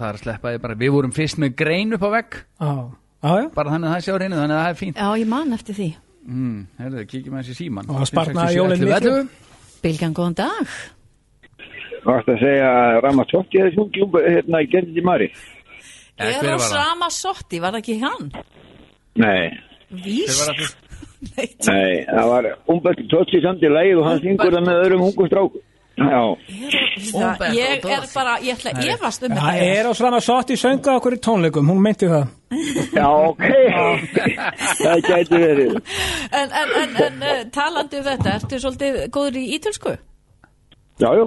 [SPEAKER 2] Það er að sleppa því bara Við vorum fyrst með grein upp á vegg
[SPEAKER 4] Já,
[SPEAKER 3] Oh.
[SPEAKER 4] já, já
[SPEAKER 2] Bara þannig að það sé á reynu Þannig að það er fínt
[SPEAKER 3] Já, ég man eftir því.
[SPEAKER 2] mm, Herðu, kíkjum aðeins í síman
[SPEAKER 4] Og það sparnaði jólin miklu.
[SPEAKER 3] Bilgjan, góðan dag.
[SPEAKER 10] Varst að segja að Ramazzotti hefði sjúkjum hérna í gerðið í Mari?
[SPEAKER 2] Eða,
[SPEAKER 3] Ég
[SPEAKER 2] hver
[SPEAKER 3] er á
[SPEAKER 2] var það?
[SPEAKER 3] sama sotti, var það ekki hann?
[SPEAKER 10] Nei,
[SPEAKER 3] Vís?
[SPEAKER 10] nei, það var Umberti Totti samt í lægið og hann syngur það með öðrum ungu stráku. Já,
[SPEAKER 3] Það, ég er bara, ég ætla að efast um
[SPEAKER 4] Það er á svona sott í söngu okkur í tónleikum, hún meinti það
[SPEAKER 10] já,
[SPEAKER 4] [laughs]
[SPEAKER 10] ok, það gæti verið.
[SPEAKER 3] En, en, en, en eh, talandi um þetta, ertu svolítið góður í ítölsku?
[SPEAKER 10] Já, já,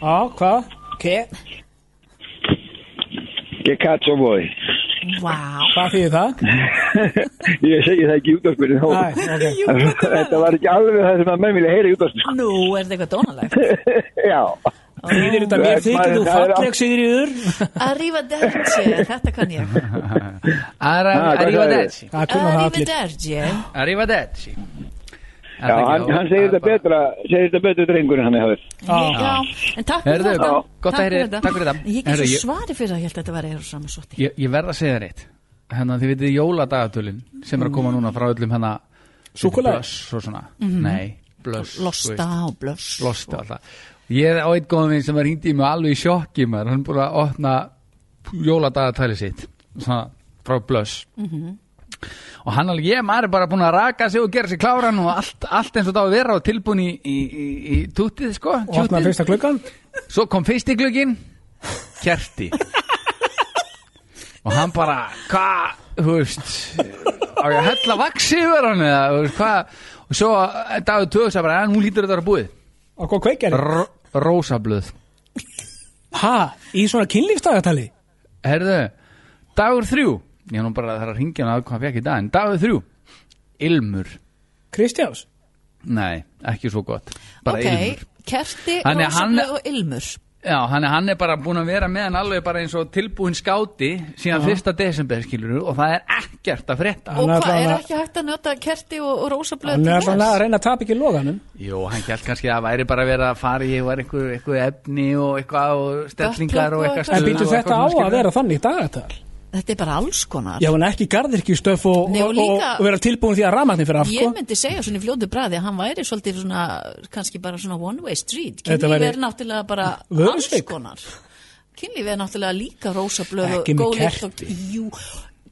[SPEAKER 4] Já, hvað? Okay.
[SPEAKER 10] get cats og boy.
[SPEAKER 3] Vá. Wow.
[SPEAKER 4] Hvað þýðir það?
[SPEAKER 10] [laughs] Ég segi það ekki í útgangspunni
[SPEAKER 4] Æ,
[SPEAKER 10] þá.
[SPEAKER 5] [laughs]
[SPEAKER 4] okay.
[SPEAKER 10] Þetta var ekki alveg það sem að menn vilja heyra í útgangspunni.
[SPEAKER 3] Nú, er þetta eitthvað
[SPEAKER 5] [laughs]
[SPEAKER 3] dónalegt?
[SPEAKER 10] Já,
[SPEAKER 3] Oh,
[SPEAKER 4] Þýðir þetta mér þykir þú
[SPEAKER 10] Það er-
[SPEAKER 4] falleg Sigriður
[SPEAKER 3] Arrivederci, þetta kann ég
[SPEAKER 2] [laughs]
[SPEAKER 10] Ah, hvað
[SPEAKER 2] Arrivederci
[SPEAKER 4] Það kunna það allir
[SPEAKER 3] Arrivederci
[SPEAKER 2] Arrivederci
[SPEAKER 10] já, hann, hann segir þetta betra, segir þetta betra drengurinn hann hefur.
[SPEAKER 3] Já, en takk fyrir
[SPEAKER 2] Heyrðu,
[SPEAKER 3] þetta
[SPEAKER 2] gott að
[SPEAKER 3] fyrir
[SPEAKER 2] heyri-
[SPEAKER 3] þetta.
[SPEAKER 2] takk fyrir þetta.
[SPEAKER 3] Ég get
[SPEAKER 2] Heyrðu,
[SPEAKER 3] svo
[SPEAKER 2] ég-
[SPEAKER 3] svari fyrir að ég held að þetta var eða saman sotti
[SPEAKER 2] Ég, ég verð að segja þér eitt Hérna þið vitið jóladagatölu Sem er að koma núna frá öllum hérna
[SPEAKER 4] Súkkulaði?
[SPEAKER 2] Blöss og svona
[SPEAKER 3] Mhm.
[SPEAKER 2] Nei, blöss þú
[SPEAKER 3] Losta
[SPEAKER 2] veist.
[SPEAKER 3] og blöss
[SPEAKER 2] Losta alltaf Ég er á eitt góðum minn sem er hringdi í mig alveg í sjokki maður. Hann er búin að opna jóladagatæli sitt Svona frá blöss
[SPEAKER 3] Mhm.
[SPEAKER 2] Og hann alveg, ég maður er bara búin að raka sig og gera sig kláran og allt, allt eins og það á að vera og tilbúin í, í, í, í tutið sko
[SPEAKER 4] Og opnaði
[SPEAKER 2] tjútið.
[SPEAKER 4] fyrsta klukkan
[SPEAKER 2] Svo kom fyrsti glugginn Kjerti Og hann bara Hvað, þú veist Á ég að hella vaksi yfir hann eða, þú veist, hvað? Og svo eh, dagur töðu sér bara En hún lítur þetta að vera búið
[SPEAKER 4] Og hvað kveikjar
[SPEAKER 2] R Rósablöð
[SPEAKER 4] Ha, í svona kynlífsdagatali
[SPEAKER 2] Herðu, dagur þrjú Ég er nú bara að það er að ringja hann að hvað fekk í dag En dagur þrjú, ilmur
[SPEAKER 4] Kristjáns
[SPEAKER 2] Nei, ekki svo gott Bara
[SPEAKER 3] Ok,
[SPEAKER 2] ilmur
[SPEAKER 3] kerti,
[SPEAKER 2] Þannig að hann-
[SPEAKER 3] rósablöð og ilmur
[SPEAKER 2] Já, hann er, hann er bara búin að vera með hann alveg bara eins og tilbúin skáti síðan 1. desember skilur og það er ekkert að frétta
[SPEAKER 3] Og
[SPEAKER 4] Hann er
[SPEAKER 3] hvað, er
[SPEAKER 4] allavega-
[SPEAKER 3] ekki hægt að nota kerti og, og rósablöð
[SPEAKER 4] Hann er
[SPEAKER 3] til
[SPEAKER 4] alltaf að
[SPEAKER 3] þess?
[SPEAKER 4] reyna að tapa ekki loganum
[SPEAKER 2] Jú, hann held kannski að það væri bara verið að fara í var einhver, einhver efni og eitthvað og stellingar
[SPEAKER 3] Buttplug og
[SPEAKER 2] og eitthvað
[SPEAKER 4] En
[SPEAKER 3] eitthvað.
[SPEAKER 2] stuð
[SPEAKER 4] býtu
[SPEAKER 2] og
[SPEAKER 4] þetta á
[SPEAKER 2] eitthvað svona,
[SPEAKER 4] að vera þannig dagatal
[SPEAKER 3] Þetta er bara alls konar
[SPEAKER 4] Já, en ekki garðirkjustöf og,
[SPEAKER 3] Nei, og
[SPEAKER 4] og, og,
[SPEAKER 3] líka-
[SPEAKER 4] og vera tilbúin því að ramatni fyrir af
[SPEAKER 3] Ég
[SPEAKER 4] sko.
[SPEAKER 3] myndi segja svona í fljótu bræði að hann væri svolítið svona, kannski bara svona one way street
[SPEAKER 4] Þetta
[SPEAKER 3] Kynlíf
[SPEAKER 4] væri-
[SPEAKER 3] er náttúrulega bara alls
[SPEAKER 4] Vörusvik.
[SPEAKER 3] konar Kynlíf er náttúrulega líka rósablöð og
[SPEAKER 4] Ekki með
[SPEAKER 3] góðlykt og-
[SPEAKER 4] kerti.
[SPEAKER 3] Jú,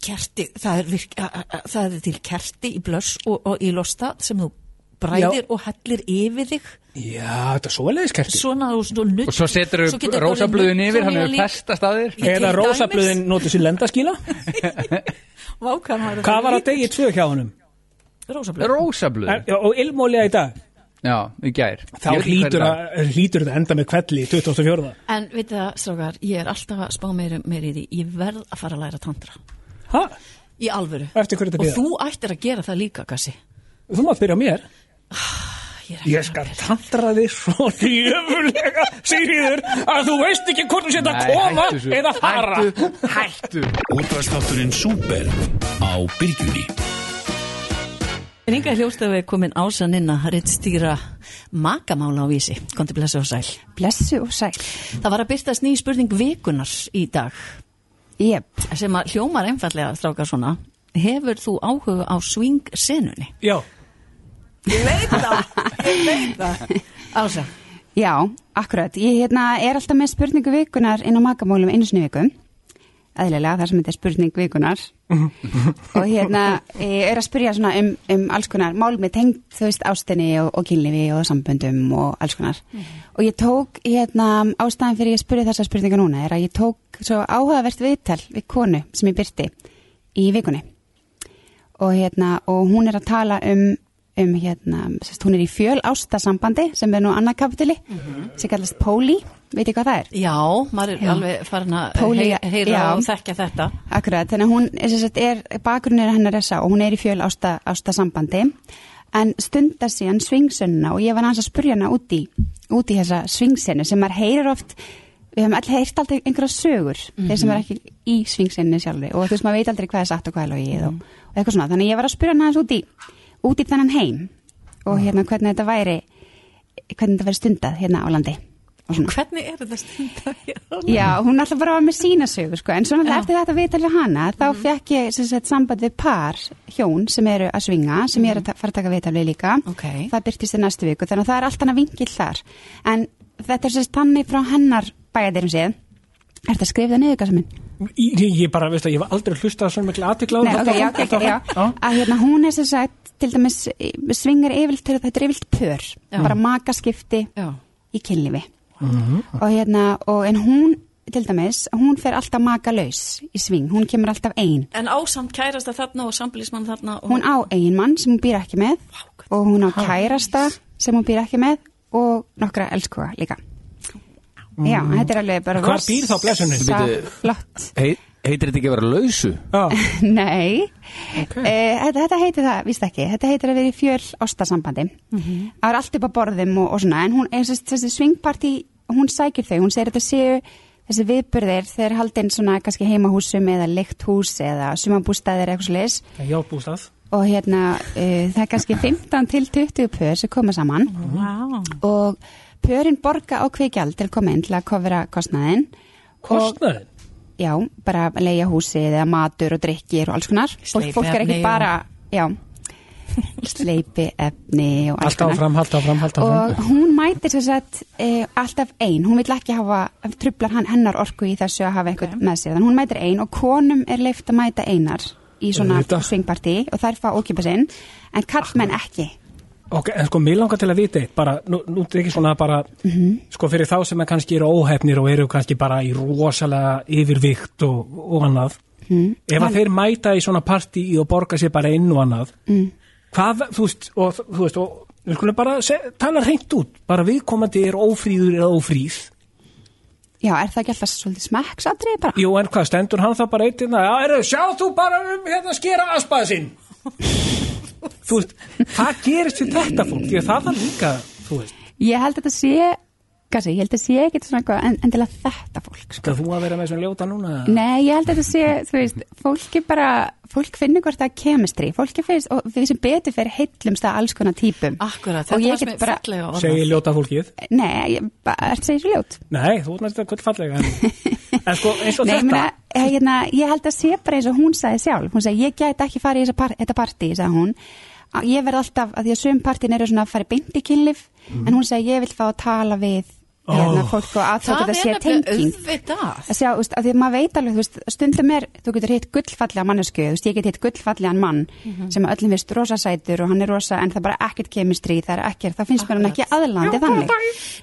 [SPEAKER 3] kerti, það er, virk, a, a, a, það er til kerti í blöss og, og í losta sem þú bræðir og hellir yfir þig
[SPEAKER 4] Já, þetta er svoleiðis kerti
[SPEAKER 3] svona og svona nutt
[SPEAKER 2] Og svo setur upp rósablöðin yfir, hann hefur festast að þér
[SPEAKER 3] Ég-
[SPEAKER 4] Eða
[SPEAKER 3] til dæmis-
[SPEAKER 4] rósablöðin notu sér
[SPEAKER 3] [laughs]
[SPEAKER 4] lendaskíla Hvað var að degi tvö hjá honum?
[SPEAKER 3] Rósablöð
[SPEAKER 2] Rósablöð,
[SPEAKER 4] Er, og ilmóliða
[SPEAKER 3] [laughs]
[SPEAKER 4] í dag
[SPEAKER 2] já, í gær
[SPEAKER 4] Þá
[SPEAKER 2] Ég veit ekki
[SPEAKER 4] hlýtur,
[SPEAKER 2] hvað er í dag.
[SPEAKER 4] að, hlýtur þetta enda með kvelli í 2004
[SPEAKER 3] En veitu það, strákar, ég er alltaf að spá meiri, meiri í því Ég verð að fara að læra tantra
[SPEAKER 4] Ha?
[SPEAKER 3] Í alvöru
[SPEAKER 4] Eftir hverju þetta
[SPEAKER 3] Og
[SPEAKER 4] bíða?
[SPEAKER 3] þú ættir að gera það líka, Gassi
[SPEAKER 4] Þú mátt byrja á mér
[SPEAKER 3] Ég,
[SPEAKER 4] Ég skal tantra þig svo jöfulega Sigriður að þú veist ekki hvort þú sétt að
[SPEAKER 2] Nei,
[SPEAKER 4] koma
[SPEAKER 2] hættu þessu.
[SPEAKER 4] eða fara
[SPEAKER 2] Hættu, hættu
[SPEAKER 9] Útvarstátturinn Súper á Bylgjunni
[SPEAKER 3] En Inga Hljóstafi er komin ásan inn að rittstýra makamála á vísi Kondi blessu og sæl
[SPEAKER 11] Blessu og sæl.
[SPEAKER 3] Það var að byrtast ný spurning vikunar í dag
[SPEAKER 11] Jep.
[SPEAKER 3] sem að hljómar einfallega strákar svona Hefur þú áhuga á swing senunni?
[SPEAKER 4] Já,
[SPEAKER 3] Ása
[SPEAKER 11] Já, akkurat. Ég hérna, er alltaf með spurningu vikunar inn á makamólum einu sinni í viku. eðlilega þar sem þetta er spurning vikunar
[SPEAKER 3] Mhm.
[SPEAKER 11] og hérna eh, er að spyrja svona um, um alls konar málmi tengd þú veist ástinni og, og kynlífi og samböndum og alls konar
[SPEAKER 3] Mhm.
[SPEAKER 11] og ég tók hérna ástæðan fyrir ég spurði þessa spurninga núna er að ég tók svo áhugavert viðtal við konu sem ég byrti í vikunni og hérna og hún er að tala um um hérna, sérst, hún er í fjöl ástasambandi sem er nú annað kapitili sem kallast Póli, veit ég hvað það er?
[SPEAKER 3] Mhm. Já, maður er alveg farin að
[SPEAKER 11] Póli,
[SPEAKER 3] hey- heyra
[SPEAKER 11] já.
[SPEAKER 3] og þekkja þetta
[SPEAKER 11] Akkurat, þannig að hún er, sem sagt, er bakgrunnir hennar er sá, hún er í fjöl ásta, ástasambandi en stundar síðan svingsunna og ég var aðeins að spurja hana út í, út í þessa svingsennu sem maður heyrir oft við hefum allir heyrt alltaf einhverja sögur þeir sem
[SPEAKER 12] Mhm.
[SPEAKER 11] er ekki í svingsennu sjálfri og þú veist maður veit aldrei hvað er satt og hvað er logið og, og eitthvað svona, þannig að ég var að spurja hana aðeins út í út í þennan heim og hérna hvernig þetta væri hvernig þetta væri stundað hérna á landi og svona.
[SPEAKER 3] Hvernig er þetta stundar?
[SPEAKER 11] Já, hún alltaf bara var með sína sögu sko, en svona eftir þetta viðtal við hana þá fekk ég sem sagt, samband við par hjón sem eru að svinga sem ég er að ta- fara að taka viðtal við líka okay. það byrtist í næstu viku, þannig að það er allt annað vingill þar en þetta er sem sagt þannig frá hennar bæjaðirum séð Er þetta skrifða niður, Gassa minn?
[SPEAKER 4] Ég, ég bara, veistu, ég var aldrei að hlusta svona mikla aðtikla
[SPEAKER 11] Nei, ok, já, ok, já, að hérna hún er sem sagt, til dæmis eh, svingar yfirlt til að þetta er yfirlt pör
[SPEAKER 4] Já.
[SPEAKER 11] bara makaskipti já. í kynlífi og hérna, og, en hún til dæmis, hún fer alltaf makalaus í sving, hún kemur alltaf ein
[SPEAKER 3] En ásamt kærasta þarna og sambilismann þarna og...
[SPEAKER 11] hún á eiginmann sem hún býr ekki með og hún á kærasta sem hún býr ekki með og nokkra elskoða líka
[SPEAKER 2] Mm.
[SPEAKER 11] já, þetta er alveg bara
[SPEAKER 4] Mm. Hvar býr þá blessunin?
[SPEAKER 11] rosa
[SPEAKER 13] Bíddu.
[SPEAKER 11] flott
[SPEAKER 13] Hei, heitir þetta ekki að vera lausu?
[SPEAKER 4] Já.
[SPEAKER 11] [laughs] Nei, eh, þetta, þetta heitir það, víst ekki, þetta heitir að vera í fjöl ástasambandi. Það er allt upp á borðum og, og svona, en hún, eins og þessi svingparti, hún sækir þau, hún segir að þetta séu þessi viðburðir, þeir haldin svona kannski heimahúsum eða leikt hús eða sumabústæðir eitthvað svo leis
[SPEAKER 4] Já, bústað
[SPEAKER 11] og hérna uh, það er kannski 15 til 20 pör sem koma saman
[SPEAKER 4] Mm.
[SPEAKER 3] wow.
[SPEAKER 11] og pörin borga á kveikjald til að koma inn til að kofra kostnaðin
[SPEAKER 4] Kostnaðinn?
[SPEAKER 11] Já, bara leia húsið eða matur og drikkir og alls konar Fólk, fólk er
[SPEAKER 4] Steypiefni
[SPEAKER 11] ekki
[SPEAKER 4] og-
[SPEAKER 11] bara, já sleipi efni og alls
[SPEAKER 4] Halda áfram, halda áfram, halda áfram
[SPEAKER 11] og hún mætir sem sagt e, alltaf ein, hún vill ekki hafa trublar hann hennar orku í þessu að hafa eitthvað með sér, þannig hún mætir ein og konum er leift að mæta einar í svona
[SPEAKER 4] Auðvitað.
[SPEAKER 11] svingparti og þær fá ókipa sinn en kallmenn ekki
[SPEAKER 4] Ok, en sko, mér langar til að vita eitt bara, nú, nú er ekki svona bara
[SPEAKER 11] Mhm.
[SPEAKER 4] sko, fyrir þá sem er kannski eru óhefnir og eru kannski bara í rosalega yfirvikt og, og annað
[SPEAKER 11] mm.
[SPEAKER 4] ef að þeir mæta í svona partí og borga sér bara inn og annað
[SPEAKER 11] Mm.
[SPEAKER 4] hvað, þú veist, og þú veist og við skulum bara se, tala hreint út bara viðkomandi er ófríður eða ófríð
[SPEAKER 11] Já, er það ekki alltaf svolítið smekksatrið bara?
[SPEAKER 4] Jú, en hvað, stendur hann það bara eitt hérna, já, er, sjá þú bara um hérna skera aspaði
[SPEAKER 11] [laughs]
[SPEAKER 4] sinn þú veist, hvað gerist við þetta fólk, því að það var líka þú veist,
[SPEAKER 11] Ég held að þetta sé, kannski, ég held að þetta sé ekkit svona eitthvað en, endilega þetta fólk
[SPEAKER 4] skal þú að vera með svona ljóta
[SPEAKER 3] Ah.
[SPEAKER 4] núna
[SPEAKER 11] Nei, ég held að þetta sé, þú veist, fólki bara, fólk finnur hvort það er kemistri, fólki finnst, og við sem betur fyrir heillumst að alls konar típum.
[SPEAKER 3] Akkurat,
[SPEAKER 11] Og
[SPEAKER 3] þetta
[SPEAKER 11] ég
[SPEAKER 3] var
[SPEAKER 11] get
[SPEAKER 3] sem
[SPEAKER 11] bara-
[SPEAKER 3] fallega orðað.
[SPEAKER 4] segi ljóta fólkið
[SPEAKER 11] Nei, ég bara, ert segir svo ljót.
[SPEAKER 4] Nei, þú veist þetta kvöld fallega en,
[SPEAKER 11] [laughs]
[SPEAKER 4] en sko, eins og
[SPEAKER 11] Nei, ég
[SPEAKER 4] þetta
[SPEAKER 11] meina, eh, hérna, ég held að sé bara eins og hún sagði sjálf, hún sagði, ég gæti ekki farið í þessa par, þetta partí, sagði hún. Á- Ég verð alltaf, að því að sum partin eru svona að fara beint í kynlif, en hún sagði, ég vil fá að tala við hérna,
[SPEAKER 3] Oh.
[SPEAKER 11] fólk og að þá
[SPEAKER 3] Það
[SPEAKER 11] þetta
[SPEAKER 3] er
[SPEAKER 11] sé
[SPEAKER 3] nefnilega
[SPEAKER 11] tenging.
[SPEAKER 3] auðvitað
[SPEAKER 11] að sjá, þú veist, af því að maður veit alveg, þú veist, stundum er, þú getur hitt gullfallega mannesku, þú veist, ég get hitt gullfallegan mann
[SPEAKER 3] Mhm.
[SPEAKER 11] sem að öllum veist rosa sætur og hann er rosa en það er bara ekkert kemistri, það er ekkert, þá finnst mér hann ekki aðlandi þannig.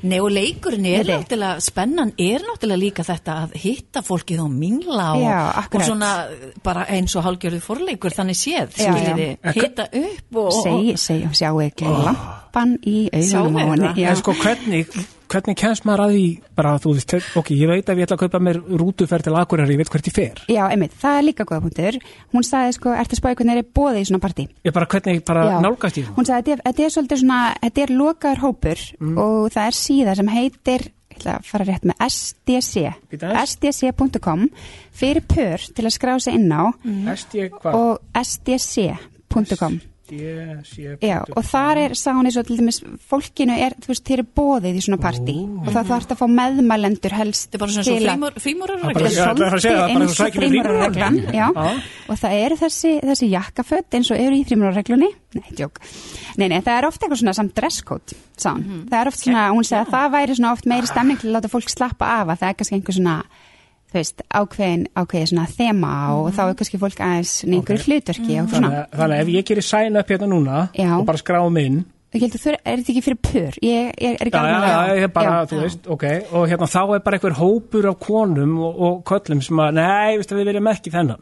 [SPEAKER 3] Nei og leikurinn er náttúrulega, spennan er náttúrulega líka þetta að hitta fólkið og mingla og,
[SPEAKER 11] Já,
[SPEAKER 3] og
[SPEAKER 11] akkurat.
[SPEAKER 3] svona bara eins og hálgjörðu forleikur þannig séð,
[SPEAKER 11] Já, já.
[SPEAKER 3] skiljiði, hitta upp og, og,
[SPEAKER 11] Segi, segi, sjáu ekki lampan í augunum á
[SPEAKER 4] Sjáum
[SPEAKER 11] henni. já.
[SPEAKER 4] Ah. En sko, hvernig, hvernig kemst maður að því bara, þú veist, te- ok, ég veit að ég ætla að kaupa mér rútuferð til Akureyri, ég veit hvert ég fer
[SPEAKER 11] Já, einmitt, það er líka góða punktur. Hún sagði sko, ertu spáði hvernig er bóðið í svona partí?
[SPEAKER 4] ég bara, hvernig bara
[SPEAKER 11] Já.
[SPEAKER 4] nálgast ég
[SPEAKER 11] Hún sagði, þetta er, þetta er svolítið svona, þetta er lokaður hópur
[SPEAKER 4] Mm.
[SPEAKER 11] og það er síða sem heitir, ég ætla að fara rétt með SDC, sdc.com fyrir pör til að skrá sig inn á
[SPEAKER 4] SDC hvað?
[SPEAKER 11] og sdc.com
[SPEAKER 4] SDC
[SPEAKER 11] Já, og þar er, sá hún eins og til dæmis, fólkinu er, þú veist, þeir eru bóðið í svona partí og það þarf að fá meðmælendur helst Þetta er
[SPEAKER 3] bara svona eins og frímúr- frímúrarareglan. Já, ég ætlaði að fara að segja það, bara eins og sækjum í
[SPEAKER 11] frímurarreglan
[SPEAKER 3] frímúrarareglan.
[SPEAKER 11] [laughs] Já,
[SPEAKER 3] Já.
[SPEAKER 11] og það eru þessi, þessi jakkaföt eins og eru í frímurarreglunni Nei, tjók Nei, nei, það er oft eitthvað svona samt dresskót, sá hún
[SPEAKER 3] Mhm.
[SPEAKER 11] Það er oft svona, hún segði að það væri svona oft meiri stemning til að láta fólk slappa af að það er kannski einhver svona þú veist, ákveðin, ákveðin svona þema og
[SPEAKER 3] Mhm.
[SPEAKER 11] þá er kannski fólk aðeins neingur okay. hlutverki og
[SPEAKER 4] þannig,
[SPEAKER 11] svona.
[SPEAKER 4] að- þannig að ef ég gerir sign up hérna núna
[SPEAKER 11] Já.
[SPEAKER 4] og bara skráum inn
[SPEAKER 11] Ég held að þú er þetta ekki fyrir pör, ég, ég er
[SPEAKER 4] Já,
[SPEAKER 11] ekki alveg-
[SPEAKER 4] já, já, ég bara,
[SPEAKER 11] Já.
[SPEAKER 4] þú veist, ok og hérna þá er bara einhver hópur af konum og, og köllum sem að, nei, veistu, við viljum ekki þennan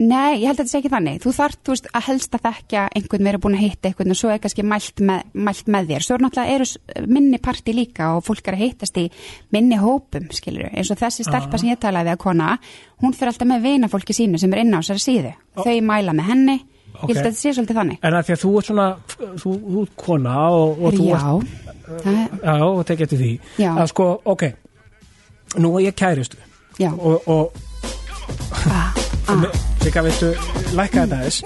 [SPEAKER 11] Nei, ég held að þetta sé ekki þannig. Þú þarft, þú veist, að helst að þekkja einhvern verið búin að hitta einhvern og svo er kannski mælt með, mælt með þér. Svo er náttúrulega eru s- minni parti líka og fólk er að hittast í minni hópum, skilur við. Eins og þessi stelpa
[SPEAKER 12] Ah.
[SPEAKER 11] sem ég talaði við að kona, hún fyrir alltaf með vinafólki sínu sem er inn á sér síðu. Þau mæla með henni.
[SPEAKER 4] Ok.
[SPEAKER 11] Ég held að þetta sé svolítið þannig.
[SPEAKER 4] en að því að þú ert svona, þú, þú ert kona og, og þú
[SPEAKER 11] Herri,
[SPEAKER 4] ert
[SPEAKER 11] Það,
[SPEAKER 4] Já, og tekja eftir því
[SPEAKER 11] Já.
[SPEAKER 4] að sko, ok, nú er ég kæristu
[SPEAKER 11] Já. Ah,
[SPEAKER 4] og, og Sigga, veistu, lækka þetta
[SPEAKER 11] Mm.
[SPEAKER 4] aðeins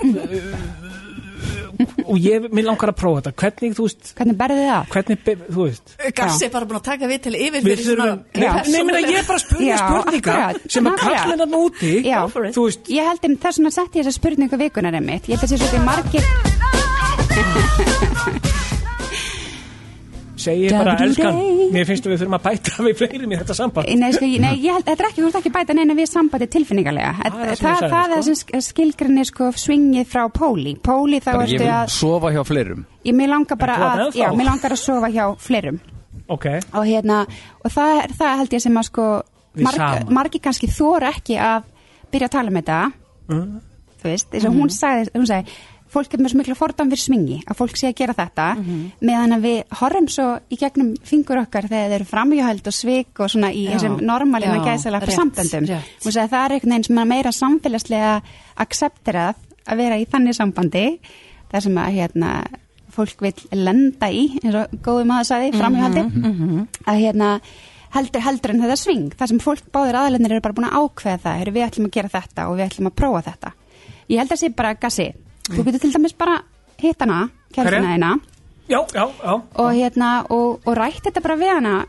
[SPEAKER 4] og ég, mér langar að prófa þetta hvernig, þú veist
[SPEAKER 11] hvernig berði það?
[SPEAKER 4] hvernig, be- þú veist
[SPEAKER 3] Gassi er bara búin að taka við til yfir
[SPEAKER 4] Við þurfum, nei, nei, meina, ég er bara að spurja spurninga sem að kallina úti
[SPEAKER 11] Já, þú veist Ég held um þess að setja þessa spurningu vikunar einmitt Ég held að sé svolítið margir
[SPEAKER 4] segi ég bara,
[SPEAKER 11] Dagur í
[SPEAKER 4] elskan,
[SPEAKER 11] dag.
[SPEAKER 4] mér finnst að við þurfum að bæta við fleirum í þetta samband Mm.
[SPEAKER 11] Nei, sko, ég- nei ég held, þetta er ekki, þú ert ekki að bæta neina við sambandi tilfinningarlega Þa,
[SPEAKER 4] það
[SPEAKER 11] Það,
[SPEAKER 4] sem ég
[SPEAKER 11] það,
[SPEAKER 4] sagði,
[SPEAKER 11] er það sem skilgrinni sko svingið frá Póli Póli þá
[SPEAKER 13] Bara ég
[SPEAKER 11] ertu
[SPEAKER 13] vil
[SPEAKER 11] að
[SPEAKER 13] sofa hjá fleirum
[SPEAKER 11] Ég mér langar bara
[SPEAKER 13] En þú ert
[SPEAKER 11] að,
[SPEAKER 13] ennþá.
[SPEAKER 11] já, mér langar að sofa hjá fleirum
[SPEAKER 4] ok,
[SPEAKER 11] og hérna, og það, er- það held ég sem að sko,
[SPEAKER 4] Við
[SPEAKER 11] marg,
[SPEAKER 4] saman.
[SPEAKER 11] margi kannski þóra ekki að byrja að tala um þetta
[SPEAKER 4] Mm.
[SPEAKER 11] þú veist, eins og hún
[SPEAKER 3] Mhm.
[SPEAKER 11] sagði, hún sagði fólk er með svo miklu fordám fyrir smingi að fólk sé að gera þetta
[SPEAKER 3] Mhm.
[SPEAKER 11] meðan að við horfum svo í gegnum fingur okkar þegar þeir eru framhjóhald og svik og svona í
[SPEAKER 3] Já,
[SPEAKER 11] þessum normalina
[SPEAKER 3] já,
[SPEAKER 11] gæsilega
[SPEAKER 3] rétt,
[SPEAKER 11] fyrir samböndum
[SPEAKER 3] rétt.
[SPEAKER 11] hún sagði það er einhvern veginn sem er meira samfélagslega accepterað að vera í þannig sambandi þar sem að hérna fólk vil lenda í, eins og góðum að það sagði, framhjóhaldi
[SPEAKER 3] Mhm.
[SPEAKER 2] Mhm.
[SPEAKER 11] að hérna heldur, heldur en þetta sving þar sem fólk báðir aðalennir eru bara búin að ákveða það heyrðu, við ætlum að gera þetta og við ætlum að prófa þetta ég held að sé bara gassi þú getur til dæmis bara hitt hana kjærstuna
[SPEAKER 4] Hverja?
[SPEAKER 11] þína
[SPEAKER 4] já, já, já
[SPEAKER 11] hérna og, hérna, og, og rætt þetta bara við hana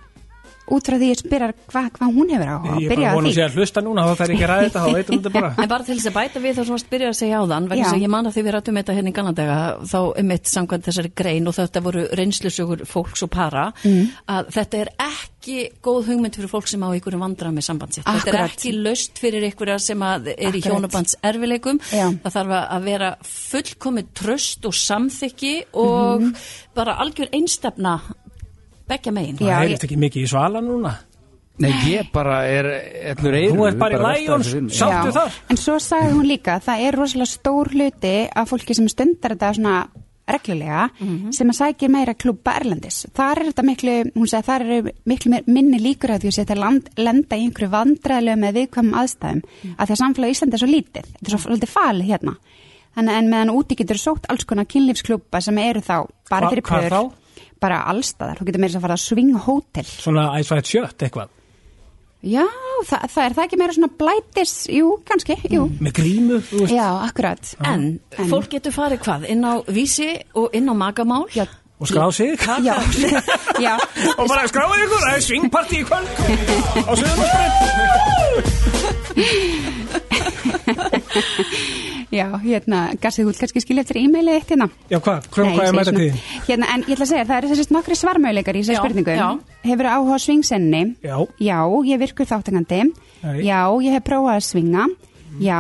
[SPEAKER 11] út frá því ég spyrir hvað hva hún hefur á
[SPEAKER 4] ég er bara vonum sé að hlusta núna þá þarf ég ekki að ræða þetta, þá veitum
[SPEAKER 11] [laughs]
[SPEAKER 4] þetta bara
[SPEAKER 3] En bara til þess að bæta við þá sem varst byrjað að segja áðan vegna
[SPEAKER 11] Já.
[SPEAKER 3] þess að ég man að því við rættum þetta hérna í ganlandega þá um mitt samkvæmt þessari grein og þetta voru reynslusögur fólks og para
[SPEAKER 11] Mm.
[SPEAKER 3] að þetta er ekki góð hugmynd fyrir fólk sem á einhverjum vandræðum með samband sitt þetta er
[SPEAKER 11] Akkurat.
[SPEAKER 3] ekki löst fyrir einhverja sem að er
[SPEAKER 11] Akkurat.
[SPEAKER 3] í hjónabands erfileikum
[SPEAKER 11] Já.
[SPEAKER 3] það þarf að- að vera fullkomi tröst og samþykki og
[SPEAKER 11] Mhm.
[SPEAKER 3] bara algjör einstefna begja megin
[SPEAKER 4] það heyrist ekki mikið í svala núna
[SPEAKER 2] Nei, ég bara er Þú
[SPEAKER 4] Þú ert bara í Lions, sáttu
[SPEAKER 11] Já, En svo sagði hún líka að það er rosalega stór hluti af fólki sem stundar þetta svona reglulega sem að sækir meira klubba erlendis. Þar er þetta miklu, hún sagði, þar eru miklu meir- minni líkur að því að þetta land, lenda í einhverju vandræðilega með viðkvæmum aðstæðum að því að samfélag á Íslandi er svo lítið, þetta er svo svolítið falið hérna. Þannig en meðan úti getur sótt alls konar kynlífsklubba sem eru þá bara
[SPEAKER 4] Hva-
[SPEAKER 11] fyrir
[SPEAKER 4] hvar
[SPEAKER 11] pör, bara allstaðar, þú getur meira þess að fara að swing hotel.
[SPEAKER 4] Svona æsvægt sjött eitthvað
[SPEAKER 11] Já, það, það er það ekki meira svona blætis, jú, kannski, jú.
[SPEAKER 4] Með grímu, Mm. þú veist
[SPEAKER 11] Já, akkurat.
[SPEAKER 3] En, fólk getur farið hvað? Inn á vísi og inn á magamál? Já.
[SPEAKER 4] Og skrá sig
[SPEAKER 3] [laughs] Já.
[SPEAKER 11] Já.
[SPEAKER 4] Og bara skráið ykkur, það er svingparti í kvöld [laughs] Á Suðurlandsbraut
[SPEAKER 11] [laughs] Já, hérna, Gassið, þú vil kannski skilja eftir e-mailið eitt hérna.
[SPEAKER 4] Já, hvað, hvað
[SPEAKER 11] Nei, ég
[SPEAKER 4] hvað er
[SPEAKER 11] segi
[SPEAKER 4] mæta
[SPEAKER 11] svona-
[SPEAKER 4] tíðin?
[SPEAKER 11] Hérna, en ég ætla að segja, það eru þessi nokkri svarmöðuleikar í þessu
[SPEAKER 3] Já,
[SPEAKER 11] spurningu.
[SPEAKER 3] já.
[SPEAKER 11] Hefur áhuga á svingsenni?
[SPEAKER 4] Já.
[SPEAKER 11] Já, ég virkur þáttangandi.
[SPEAKER 4] Nei. Mm.
[SPEAKER 11] Já, ég hef prófað að svinga. Já,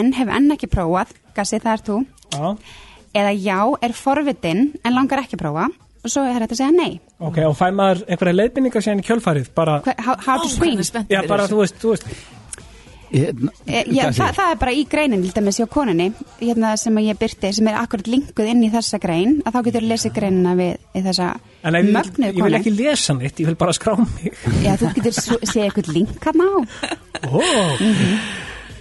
[SPEAKER 11] en hef enn ekki prófað. Gassið, það er þú.
[SPEAKER 4] Já,
[SPEAKER 11] Eða já, er forvitin, en langar ekki að prófa. Og svo er þetta að segja nei.
[SPEAKER 4] ok, og fæ maður einhverja leiðbendingar síðan í kjölfarið bara,
[SPEAKER 11] Hva- How, how to swing?
[SPEAKER 4] Já, bara, þú veist, þú veist
[SPEAKER 2] Hérna,
[SPEAKER 11] Eh, Já, það, það er bara í greinin, til dæmis hjá koninni, hérna sem að ég byrti, sem er akkurat linkuð inn í þessa grein, að þá getur lesið greinina við við þessa
[SPEAKER 4] En ef ég,
[SPEAKER 11] mögnuðu
[SPEAKER 4] ég vil
[SPEAKER 11] konu.
[SPEAKER 4] ekki lesa neitt, ég vil bara skrá mig
[SPEAKER 11] Já, þú getur svo- séð eitthvað link hann á. Mhm.
[SPEAKER 4] Ó,